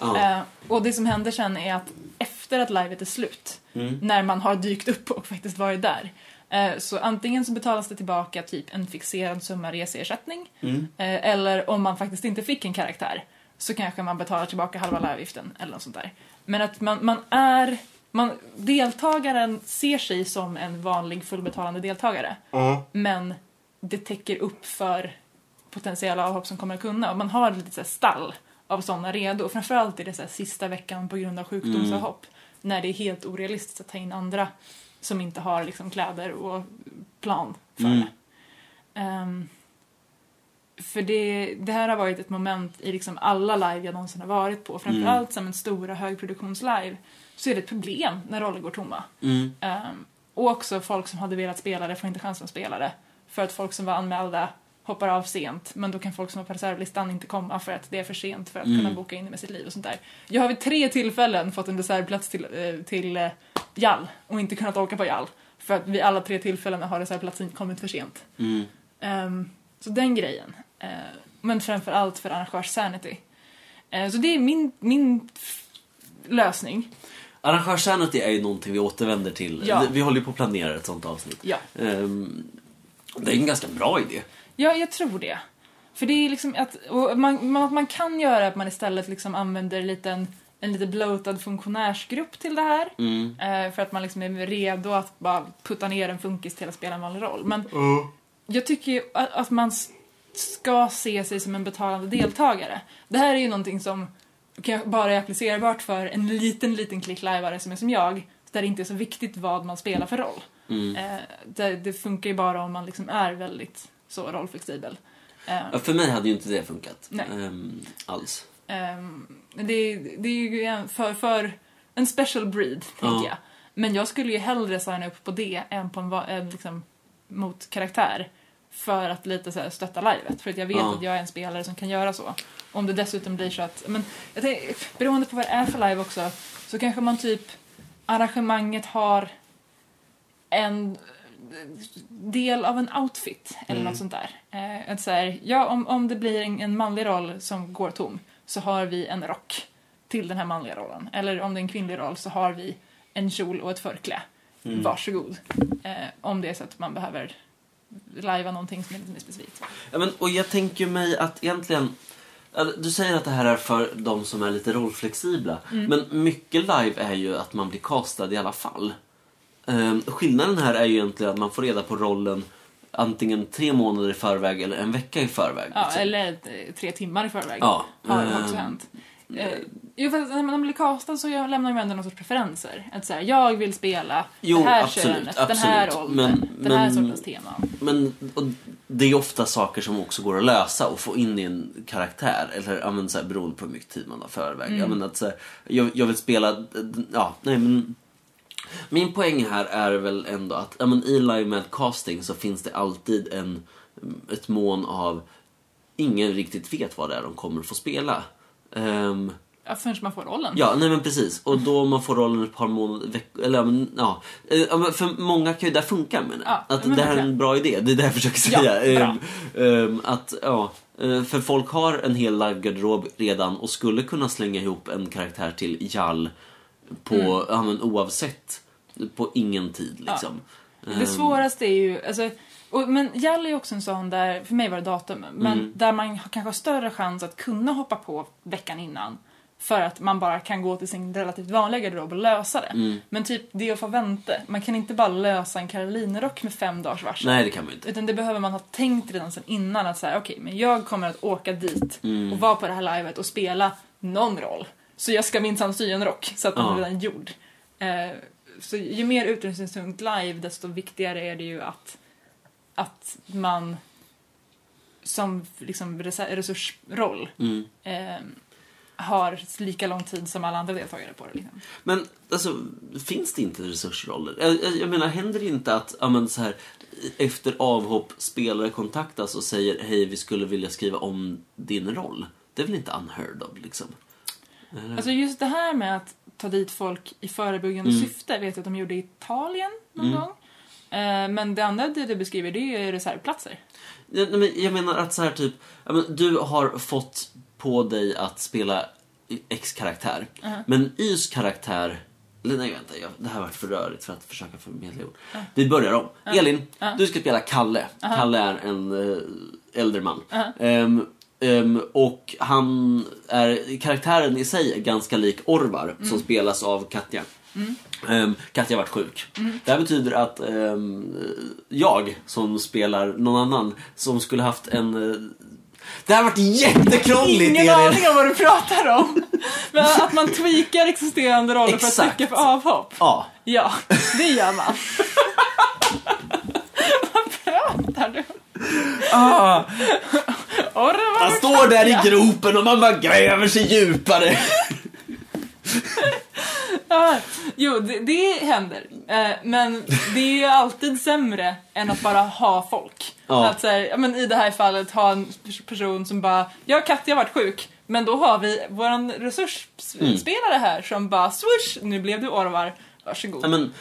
Speaker 1: Ja.
Speaker 2: Eh, och det som händer sen är att efter att livet är slut,
Speaker 1: Mm.
Speaker 2: när man har dykt upp och faktiskt varit där, eh, så antingen så betalas det tillbaka typ en fixerad summa reseersättning,
Speaker 1: Mm.
Speaker 2: eh, eller om man faktiskt inte fick en karaktär så kanske man betalar tillbaka halva läravgiften eller något sånt där. Men att man, man är, man, deltagaren ser sig som en vanlig fullbetalande deltagare, men det täcker upp för potentiella avhopp som kommer att kunna. Och man har lite så här stall av sådana redo. Och Framförallt i det så här sista veckan på grund av sjukdomsavhopp. När det är helt orealistiskt att ta in andra som inte har liksom kläder och plan för
Speaker 1: Mm.
Speaker 2: det. Ehm, för det, det här har varit ett moment i liksom alla live jag någonsin har varit på. Framförallt som en stora högproduktionslive så är det ett problem när roller går tomma.
Speaker 1: Mm.
Speaker 2: Ehm, och också folk som hade velat spela det får inte chansen att spela det. För att folk som var anmälda hoppar av sent, men då kan folk som var på reservlistan inte komma för att det är för sent för att
Speaker 1: Mm.
Speaker 2: kunna boka in det med sitt liv och sånt där. Jag har vid tre tillfällen fått en reservplats till, eh, till eh, Jall och inte kunnat åka på Jall. För att vid alla tre tillfällena har reservplatsen kommit för sent.
Speaker 1: Mm.
Speaker 2: Ehm, så den grejen. Eh, men framför allt för arrangörs sanity. Eh, så det är min, min f- lösning.
Speaker 1: Arrangörssanity är ju någonting vi återvänder till.
Speaker 2: Ja.
Speaker 1: Vi håller ju på att planera ett sånt avsnitt.
Speaker 2: Ja.
Speaker 1: Ehm, det är en ganska bra idé.
Speaker 2: Ja, jag tror det. För det är liksom att och man, man, att man kan göra att man istället liksom använder en liten, en lite bloatad funktionärsgrupp till det här.
Speaker 1: Mm.
Speaker 2: Eh, för att man liksom är redo att bara putta ner en funkis till att spela en vanlig roll. Men jag tycker ju att, att man s- ska se sig som en betalande deltagare. Det här är ju någonting som kan- bara är applicerbart för en liten, liten klick lajvare som är som jag, där det inte är så viktigt vad man spelar för roll.
Speaker 1: Mm.
Speaker 2: Eh, det, det funkar ju bara om man liksom är väldigt så rollflexibel. Eh,
Speaker 1: Ja, för mig hade ju inte det funkat.
Speaker 2: Nej.
Speaker 1: Ehm, alls.
Speaker 2: Ehm, det, är- det är ju en, för, för en special breed,
Speaker 1: Ja.
Speaker 2: tänker jag. Men jag skulle ju hellre signa upp på det än på en, va- en liksom, mot karaktär för att lite så här stötta livet. För att jag vet
Speaker 1: Ja.
Speaker 2: att jag är en spelare som kan göra så. Om det dessutom blir så att, men jag tänker, beroende på vad det är för live också, så kanske man typ, arrangemanget har en del av en outfit eller
Speaker 1: Mm.
Speaker 2: något sånt där. Eh, att så här, ja, om, om det blir en, en manlig roll som går tom så har vi en rock till den här manliga rollen. Eller om det är en kvinnlig roll så har vi en kjol och ett förkläde.
Speaker 1: Mm.
Speaker 2: Varsågod. Eh, om det är så att man behöver lajva någonting som är lite mer specifikt.
Speaker 1: Ja, men, och jag tänker mig att egentligen... eller, Du säger att det här är för de som är lite rollflexibla.
Speaker 2: Mm.
Speaker 1: Men mycket live är ju att man blir castad i alla fall. Ehm, skillnaden här är ju egentligen att man får reda på rollen antingen tre månader i förväg eller en vecka i förväg.
Speaker 2: Ja,
Speaker 1: liksom.
Speaker 2: eller eh, tre timmar i förväg.
Speaker 1: Ja,
Speaker 2: Har det också
Speaker 1: ehm,
Speaker 2: hänt. Eh, jo, fast när man blir castad så jag lämnar man ändå någon sorts preferenser. Att så här, jag vill spela
Speaker 1: Jo,
Speaker 2: det här
Speaker 1: absolut,
Speaker 2: könet, den här
Speaker 1: absolut.
Speaker 2: åldern,
Speaker 1: Men-
Speaker 2: den här
Speaker 1: men-
Speaker 2: sortens teman.
Speaker 1: Men och det är ofta saker som också går att lösa och få in i en karaktär. Eller ja, men, så här, beroende på hur mycket tid man har förväg. Ja, men, att, så här, jag, jag vill spela... Ja, nej, men, min poäng här är väl ändå att ja, men, i live med casting så finns det alltid en, ett mån av ingen riktigt vet vad det är de kommer få spela. Ehm,
Speaker 2: Ja, förrän man får rollen.
Speaker 1: Ja, nej men precis. Och då man får rollen ett par månader, veckor, eller ja, men, ja. Eh, ja. men För många kan ju det här funka menar jag.
Speaker 2: Ja,
Speaker 1: att
Speaker 2: men
Speaker 1: det här är
Speaker 2: verkligen.
Speaker 1: en bra idé, det är det jag försöker
Speaker 2: Ja,
Speaker 1: säga.
Speaker 2: bra.
Speaker 1: Ehm, ehm, att, ja, eh, för folk har en hel livegarderob redan och skulle kunna slänga ihop en karaktär till Jall på,
Speaker 2: Mm.
Speaker 1: ja men oavsett, på ingen tid liksom.
Speaker 2: Det svåraste är ju, alltså, och, men Jall är ju också en sån där, för mig var det datum, men
Speaker 1: Mm.
Speaker 2: där man har- kanske har större chans att kunna hoppa på veckan innan. För att man bara kan gå till sin relativt vanliga garderob och lösa det.
Speaker 1: Mm.
Speaker 2: Men typ det är att få vänta. Man kan inte bara lösa en karolinerock med fem dagars varsel.
Speaker 1: Ehm, Nej, det kan man ju inte.
Speaker 2: Utan det behöver man ha tänkt redan sen innan att säga okej, men jag kommer att åka dit
Speaker 1: Mm,
Speaker 2: och vara på det här livet och spela någon roll. Så jag ska minsann sy en rock så att den
Speaker 1: Ja.
Speaker 2: är redan gjord. Eh, så ju mer utrustningstungt live desto viktigare är det ju att, att man som liksom rese- resursroll
Speaker 1: Mm.
Speaker 2: eh, har lika lång tid som alla andra deltagare på det. Liksom.
Speaker 1: Men alltså, finns det inte resursroller? Jag, jag, jag menar, händer det inte att ja, men, så här, efter avhopp spelare kontaktas och säger hej, vi skulle vilja skriva om din roll? Det är väl inte unheard of liksom? Eller?
Speaker 2: Alltså just det här med att ta dit folk i förebyggande
Speaker 1: Mm.
Speaker 2: syfte vet jag att de gjorde i Italien någon
Speaker 1: Mm.
Speaker 2: gång. Eh, Men det andra du du beskriver det är ju reservplatser.
Speaker 1: Ja, nej, men jag menar att så här typ, ja, men, du har fått på dig att spela X karaktär.
Speaker 2: Mhm.
Speaker 1: Men Ys karaktär, eller nej vänta, jag, det här varit för rörigt för att försöka förmedla ord.
Speaker 2: Uh-huh.
Speaker 1: Vi börjar om. Elin,
Speaker 2: Ja.
Speaker 1: du ska spela Kalle.
Speaker 2: Uh-huh.
Speaker 1: Kalle är en eh, äldre man.
Speaker 2: Ja.
Speaker 1: Ehm, ehm, och han är, karaktären i sig är ganska lik Orvar
Speaker 2: Mm.
Speaker 1: som spelas av Katja. Ehm, Katja har varit sjuk.
Speaker 2: Mm.
Speaker 1: Det här betyder att ehm, jag som spelar någon annan som skulle haft en... eh, det här har varit jättekrångligt
Speaker 2: Ingen
Speaker 1: Elin!
Speaker 2: aning om vad du pratar
Speaker 1: <laughs>
Speaker 2: om! Men att man tweakar existerande roller för att
Speaker 1: Exakt.
Speaker 2: täcka för avhopp.
Speaker 1: Ja,
Speaker 2: Ja, det
Speaker 1: <laughs>
Speaker 2: gör man. vad pratar du om? Orvar.
Speaker 1: han står där i gropen och man bara gräver sig djupare.
Speaker 2: Ja, jo, det, det händer. Eh, men det är ju alltid sämre än att bara ha folk.
Speaker 1: Ja.
Speaker 2: Att så här, ja, men I det här fallet ha en pers- person som bara, jag och Katja har varit sjuk, men då har vi våran resursspelare här som bara swoosh, nu blev du Orvar, varsågod.
Speaker 1: Mm. Ja, men,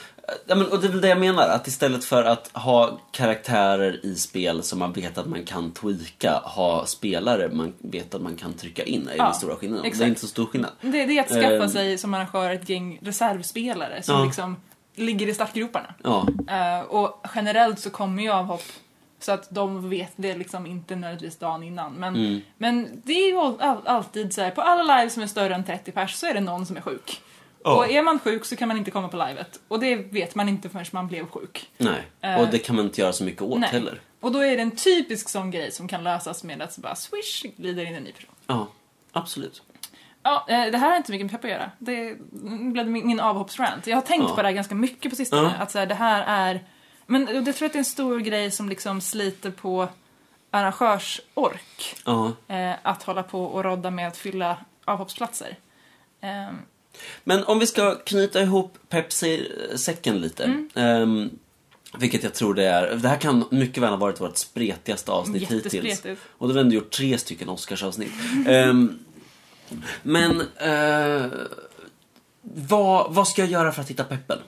Speaker 1: ja, men, och det är väl det jag menar, att istället för att ha karaktärer i spel som man vet att man kan tweaka, ha spelare man vet att man kan trycka in är
Speaker 2: Ja,
Speaker 1: den stora skillnaden. Det
Speaker 2: exakt.
Speaker 1: är inte så stor skillnad.
Speaker 2: det, det är att skaffa
Speaker 1: Ehm.
Speaker 2: sig som arrangör ett gäng reservspelare som
Speaker 1: Ja.
Speaker 2: liksom ligger i startgroparna.
Speaker 1: Ja,
Speaker 2: Eh, och generellt så kommer ju avhopp så att de vet det liksom inte nödvändigtvis dagen innan. Men, men det är ju all, all, alltid så här, på alla live som är större än 30 pers så är det någon som är sjuk.
Speaker 1: Ja.
Speaker 2: Och är man sjuk så kan man inte komma på livet. Och det vet man inte förrän man blev sjuk.
Speaker 1: nej.
Speaker 2: Eh,
Speaker 1: och det kan man inte göra så mycket åt
Speaker 2: nej.
Speaker 1: heller.
Speaker 2: Och då är det en typisk sån grej som kan lösas med att så bara swish glider in en ny person.
Speaker 1: Ja, absolut.
Speaker 2: Ja, eh, det här har inte mycket med pepp att göra. Det blev min min avhoppsrant. Jag har tänkt
Speaker 1: Ja.
Speaker 2: på det här ganska mycket på sistone.
Speaker 1: Ja.
Speaker 2: Att så här, det här är... Men jag tror att det är en stor grej som liksom sliter på arrangörsork.
Speaker 1: Ja.
Speaker 2: Eh, att hålla på och rodda med att fylla avhoppsplatser. Ehm,
Speaker 1: Men om vi ska knyta ihop Pepsi-säcken lite.
Speaker 2: Mm.
Speaker 1: ehm, vilket jag tror det är. Det här kan mycket väl ha varit vårt spretigaste avsnitt hittills.
Speaker 2: Jättespretigt.
Speaker 1: Och då har vi ändå gjort tre stycken Oscarsavsnitt. Ehm, men eh, vad, vad ska jag göra för att hitta peppen?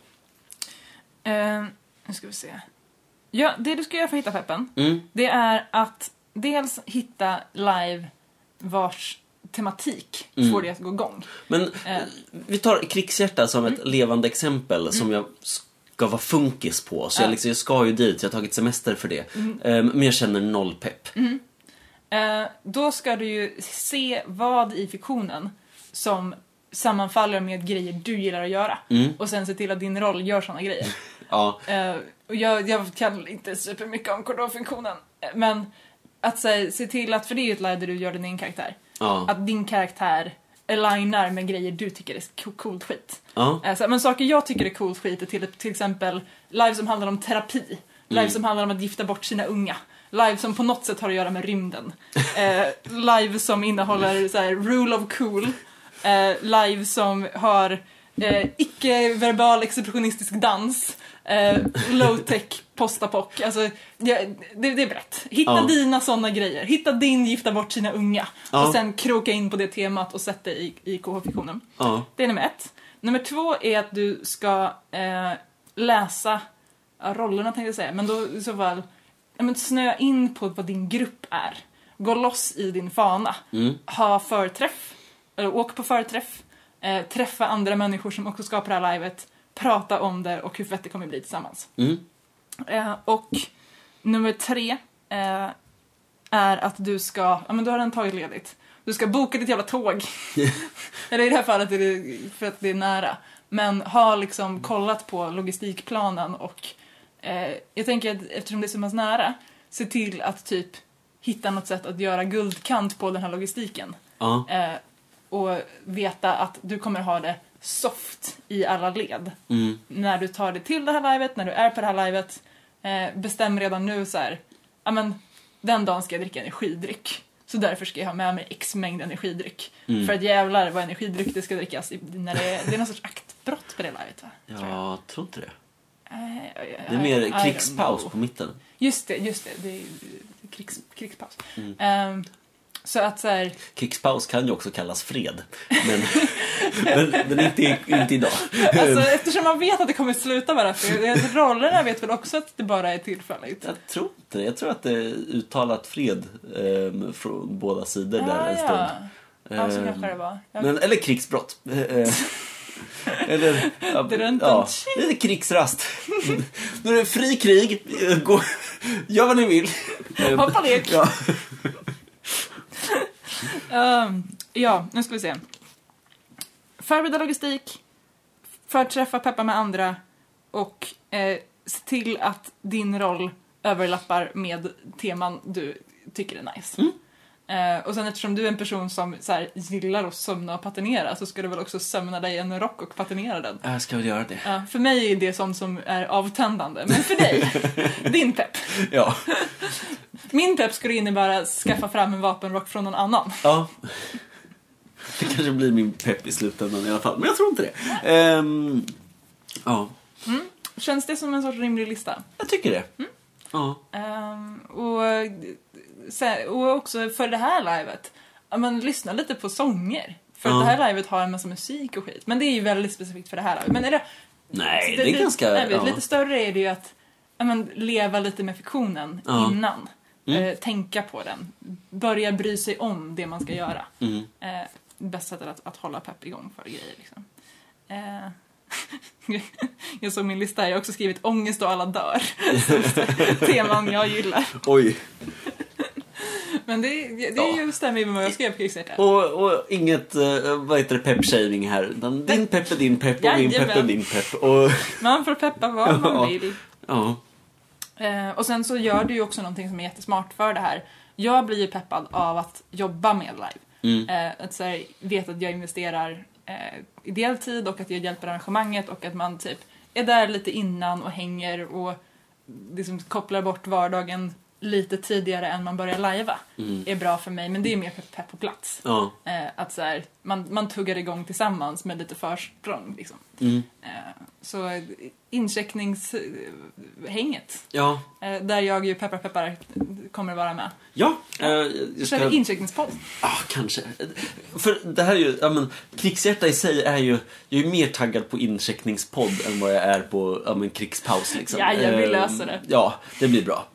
Speaker 2: Ehm, nu ska vi se. Ja, det du ska göra för att hitta peppen,
Speaker 1: Mm.
Speaker 2: det är att dels hitta live vars tematik
Speaker 1: Mm.
Speaker 2: får dig att gå igång.
Speaker 1: Men eh, vi tar krigshjärta som
Speaker 2: Mm.
Speaker 1: ett levande exempel som jag ska vara funkis på. Så jag,
Speaker 2: Ja. Mm.
Speaker 1: liksom, jag ska ju dit, jag har tagit semester för det. Ehm, men jag känner noll pepp.
Speaker 2: Eh, då ska du ju se vad i fiktionen som sammanfaller med grejer du gillar att göra. Och sen se till att din roll gör såna grejer.
Speaker 1: Ja.
Speaker 2: Eh, och jag, jag kan inte supermycket om Cordon-funktionen. eh, Men att se, se till att, för det är ju ett läge där du gör din egen karaktär.
Speaker 1: Ja.
Speaker 2: Att din karaktär alignar med grejer du tycker är co- coolt skit.
Speaker 1: ja.
Speaker 2: Eh, så här, men saker jag tycker är coolt skit är till, till exempel live som handlar om terapi, live
Speaker 1: Mm.
Speaker 2: som handlar om att gifta bort sina unga, live som på något sätt har att göra
Speaker 1: <laughs>
Speaker 2: med rymden, eh, live som innehåller så här, rule of cool, eh, live som har eh, icke-verbal expressionistisk dans, eh, low-tech postapock. Alltså, ja, det, det är brett. Hitta
Speaker 1: Ja.
Speaker 2: dina sådana grejer. Hitta din gifta bort sina unga.
Speaker 1: Ja.
Speaker 2: Och sen kroka in på det temat och sätt det i, i KH-fiktionen.
Speaker 1: ja.
Speaker 2: Det är nummer ett. Nummer två är att du ska eh, läsa ja, rollerna tänkte jag säga, men då i så fall ja, men snöa in på vad din grupp är. Gå loss i din fana.
Speaker 1: Mm,
Speaker 2: Ha förträff. Eller åk på förträff. Eh, träffa andra människor som också skapar det här livet. Prata om det och hur fett det kommer bli tillsammans.
Speaker 1: Mm.
Speaker 2: Eh, och nummer tre eh, är att du ska, ja men du har den tagit ledigt. Du ska boka ditt jävla tåg. Eller i det här fallet är det för att det är nära. Men har liksom kollat på logistikplanen och eh, jag tänker att eftersom det är så pass nära, se till att typ hitta något sätt att göra guldkant på den här logistiken.
Speaker 1: ja.
Speaker 2: Eh, och veta att du kommer ha det soft i alla led
Speaker 1: Mm.
Speaker 2: när du tar dig till det här livet, när du är på det här livet, eh, bestäm redan nu så här, ja men den dagen ska jag dricka energidryck. Så därför ska jag ha med mig x mängd energidryck.
Speaker 1: Mm.
Speaker 2: För att jävlar vad energidryck det ska drickas i- när det är, det är någon sorts aktbrott på det livet va? Tror jag.
Speaker 1: Jag tror inte det.
Speaker 2: Eh, eh,
Speaker 1: Det är
Speaker 2: I don't
Speaker 1: mer krigspaus
Speaker 2: know.
Speaker 1: på mitten.
Speaker 2: Just det, just det. Det är eh, krigs, krigspaus.
Speaker 1: Mm.
Speaker 2: Ehm, så att
Speaker 1: <laughs>
Speaker 2: så här,
Speaker 1: Krigspaus kan ju också kallas fred. Men, <laughs> men, men inte, inte idag.
Speaker 2: alltså, eftersom man vet att det kommer sluta bara, för rollerna vet väl också att det bara är tillfälligt.
Speaker 1: Jag tror inte det. Jag tror att det är uttalat fred ehm, från båda sidor där
Speaker 2: Ah,
Speaker 1: en stund.
Speaker 2: Ja, så
Speaker 1: Ehm,
Speaker 2: kanske det var. Jag
Speaker 1: Men, eller krigsbrott. Eh, eh,
Speaker 2: <laughs>
Speaker 1: eller, ja,
Speaker 2: Drön, drön,
Speaker 1: ja, lite krigsrast. Nu är det fri krig. Eh, Gå, gör vad ni vill. Eh,
Speaker 2: Hoppa lek!
Speaker 1: Ja.
Speaker 2: <laughs> Ehm, ja, nu ska vi se. Förbereda logistik, förträffa, peppa med andra och eh, se till att din roll överlappar med teman du tycker är nice.
Speaker 1: Mm.
Speaker 2: Eh, och sen eftersom du är en person som så här, gillar att sömna och patinera så ska du väl också sömna dig i en rock och patinera den.
Speaker 1: Jag ska väl göra det.
Speaker 2: Ja, för mig är det sånt som är avtändande, men
Speaker 1: <laughs>
Speaker 2: för dig, din pepp.
Speaker 1: Ja.
Speaker 2: Min pepp skulle innebära skaffa fram en vapenrock från någon annan.
Speaker 1: Ja. <laughs> Det kanske blir min pepp i slutändan i alla fall. Men jag tror inte det. Ehm, ja,
Speaker 2: Känns det som en sorts rimlig lista?
Speaker 1: jag tycker det.
Speaker 2: Mm.
Speaker 1: Ja.
Speaker 2: Ehm, och, eh, sen, och också för det här livet, ja, men lyssna lite på sånger. För
Speaker 1: Ja.
Speaker 2: att det här livet har en massa musik och skit. Men det är ju väldigt specifikt för det här livet. Men är det,
Speaker 1: Nej,
Speaker 2: så
Speaker 1: det är ganska...
Speaker 2: Nej,
Speaker 1: ja.
Speaker 2: Lite större är det ju att ja, men, leva lite med fiktionen
Speaker 1: Ja.
Speaker 2: innan.
Speaker 1: Mm.
Speaker 2: Eh, tänka på den. Börja bry sig om det man ska göra.
Speaker 1: Mm.
Speaker 2: Eh, bäst sättet att, att hålla pepp igång för grejer liksom. Eh, <laughs> jag såg min lista här, jag har också skrivit ångest och alla dör. <laughs> Som Teman jag gillar.
Speaker 1: Oj.
Speaker 2: Men det, det, det är ju stämmer ju med vad jag skrev på Kickstarter.
Speaker 1: Och, och inget, eh, vad heter det, peppshaming här. Utan Din pepp är din pepp och min pepp är
Speaker 2: Jajamän.
Speaker 1: min pepp. Och,
Speaker 2: Man får peppa vad man
Speaker 1: Ja.
Speaker 2: vill.
Speaker 1: ja.
Speaker 2: Eh, och sen så gör du ju också någonting som är jättesmart för det här. Jag blir ju peppad av att jobba med live.
Speaker 1: Mm.
Speaker 2: Eh, att så här, vet att jag investerar eh, ideell tid och att jag hjälper arrangemanget och att man typ är där lite innan och hänger och liksom kopplar bort vardagen lite tidigare än man börjar lajva. är bra för mig, men det är mer pepp- pepp på plats.
Speaker 1: Mm. Ja.
Speaker 2: Eh, att så här, man, man tuggar igång tillsammans med lite försprång. Liksom.
Speaker 1: Mm.
Speaker 2: Eh, så eh, incheckningshänget,
Speaker 1: Ja.
Speaker 2: eh, där jag ju peppar peppar kommer vara med.
Speaker 1: Ja. eh, jag
Speaker 2: Kör vi incheckningspodd.
Speaker 1: Ja, Ah, kanske. För det här är ju, ja men, krigshjärta i sig är ju, jag är ju mer taggad på incheckningspodd än vad jag är på, ja men, krigspaus liksom.
Speaker 2: Jaja, vi
Speaker 1: Ehm,
Speaker 2: löser det.
Speaker 1: Ja, det blir bra.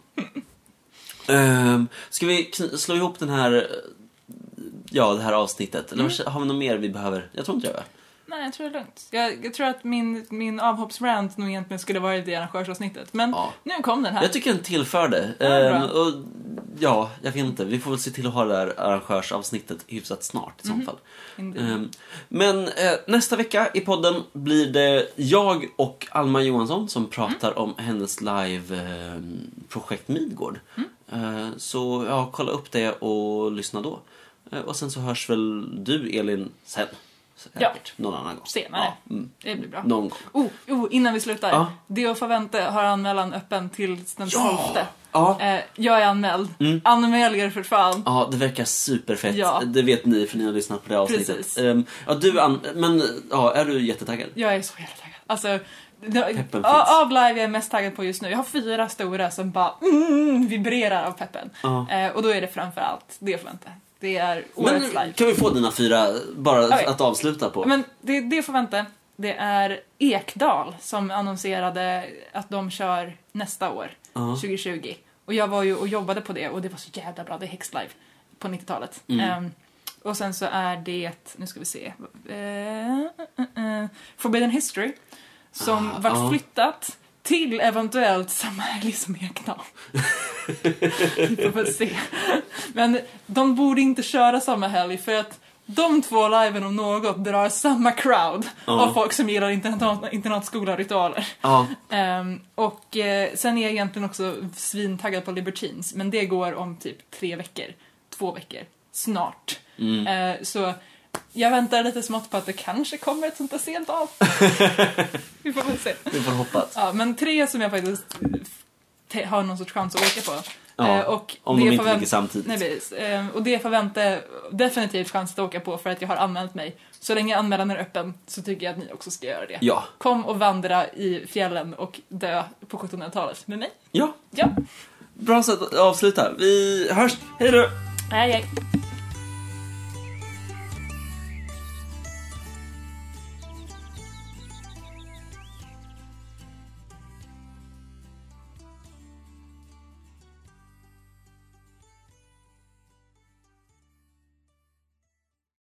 Speaker 1: um, ska vi kn- slå ihop den här, eh, ja det här avsnittet? Eller vad- har vi något mer vi behöver? Jag tror inte det. va?
Speaker 2: Nej, jag tror det är lugnt. Jag, jag tror att min, min avhoppsrant nog egentligen skulle vara i det arrangörsavsnittet, men
Speaker 1: Ja.
Speaker 2: nu kom den här.
Speaker 1: Jag tycker den tillför det.
Speaker 2: Ja,
Speaker 1: Ehm,
Speaker 2: bra.
Speaker 1: och, ja, jag vet inte. Vi får väl se till att ha det här arrangörsavsnittet hyfsat snart i så fall.
Speaker 2: Mhm. Indeed.
Speaker 1: Ehm, Men eh, nästa vecka i podden blir det jag och Alma Johansson
Speaker 2: Mm.
Speaker 1: som pratar om hennes live-projekt Midgård.
Speaker 2: Mm.
Speaker 1: Eh, Så ja, kolla upp det och lyssna då. Eh, Och sen så hörs väl du, Elin, sen. Säkert. Någon annan gång.
Speaker 2: Senare.
Speaker 1: Ja, mm.
Speaker 2: Det blir bra.
Speaker 1: Någon gång.
Speaker 2: Oh, oh, innan vi slutar.
Speaker 1: Ja.
Speaker 2: Deo Favente har anmälan öppen till den 12.
Speaker 1: Ja! Ja. Mm.
Speaker 2: Eh, jag är anmäld. Anmäl er för fan.
Speaker 1: Ja, det verkar superfett.
Speaker 2: Ja.
Speaker 1: Det vet ni för ni har lyssnat på det avsnittet.
Speaker 2: Precis.
Speaker 1: Ehm, ja, du, an- men ja, är du jättetaggad?
Speaker 2: Jag är så jävla taggad. Alltså, det,
Speaker 1: Peppen finns.
Speaker 2: av live jag är mest taggad på just nu. Jag har fyra stora som bara mm, vibrerar av peppen.
Speaker 1: Ja.
Speaker 2: Eh, och då är det framförallt det får vänta. Det är
Speaker 1: Men
Speaker 2: årets live.
Speaker 1: kan vi få dina fyra bara
Speaker 2: Okej.
Speaker 1: att avsluta på?
Speaker 2: Men det, det får vänta. Det är Ekdal som annonserade att de kör nästa år,
Speaker 1: Ja.
Speaker 2: 2020. Och jag var ju och jobbade på det och det var så jävla bra. Det är Hex Live på 90-talet.
Speaker 1: Mm.
Speaker 2: Ehm, och sen så är det, nu ska vi se, eh, eh, eh, Forbidden History som
Speaker 1: Ah,
Speaker 2: vart
Speaker 1: ja.
Speaker 2: flyttat till eventuellt samma helg
Speaker 1: <laughs>
Speaker 2: som Ekdal. Vi får väl se. Men de borde inte köra samma helg för att de två liven om något drar samma crowd
Speaker 1: Ja.
Speaker 2: av folk som gillar internat, internatsskolaritualer.
Speaker 1: Ja.
Speaker 2: Ehm, och eh, sen är jag egentligen också svintaggad på Libertines, men det går om typ tre veckor, två veckor, snart.
Speaker 1: Mm.
Speaker 2: Eh, så jag väntar lite smått på att det kanske kommer ett sånt där sent
Speaker 1: <laughs>
Speaker 2: av. Vi får väl se.
Speaker 1: Vi får hoppas.
Speaker 2: Ja, men tre som jag faktiskt te- har någon sorts chans att åka på.
Speaker 1: Ja,
Speaker 2: Eh, och
Speaker 1: om de
Speaker 2: det
Speaker 1: inte
Speaker 2: förvänt-
Speaker 1: ligger samtidigt.
Speaker 2: Nej, precis. Eh, och det förväntar jag definitivt chans att åka på för att jag har anmält mig. Så länge anmälan är öppen så tycker jag att ni också ska göra det.
Speaker 1: Ja.
Speaker 2: Kom och vandra i fjällen och dö på 1700-talet med mig.
Speaker 1: Ja,
Speaker 2: Ja,
Speaker 1: bra sätt att avsluta. Vi hörs. Hej då!
Speaker 2: hej hej.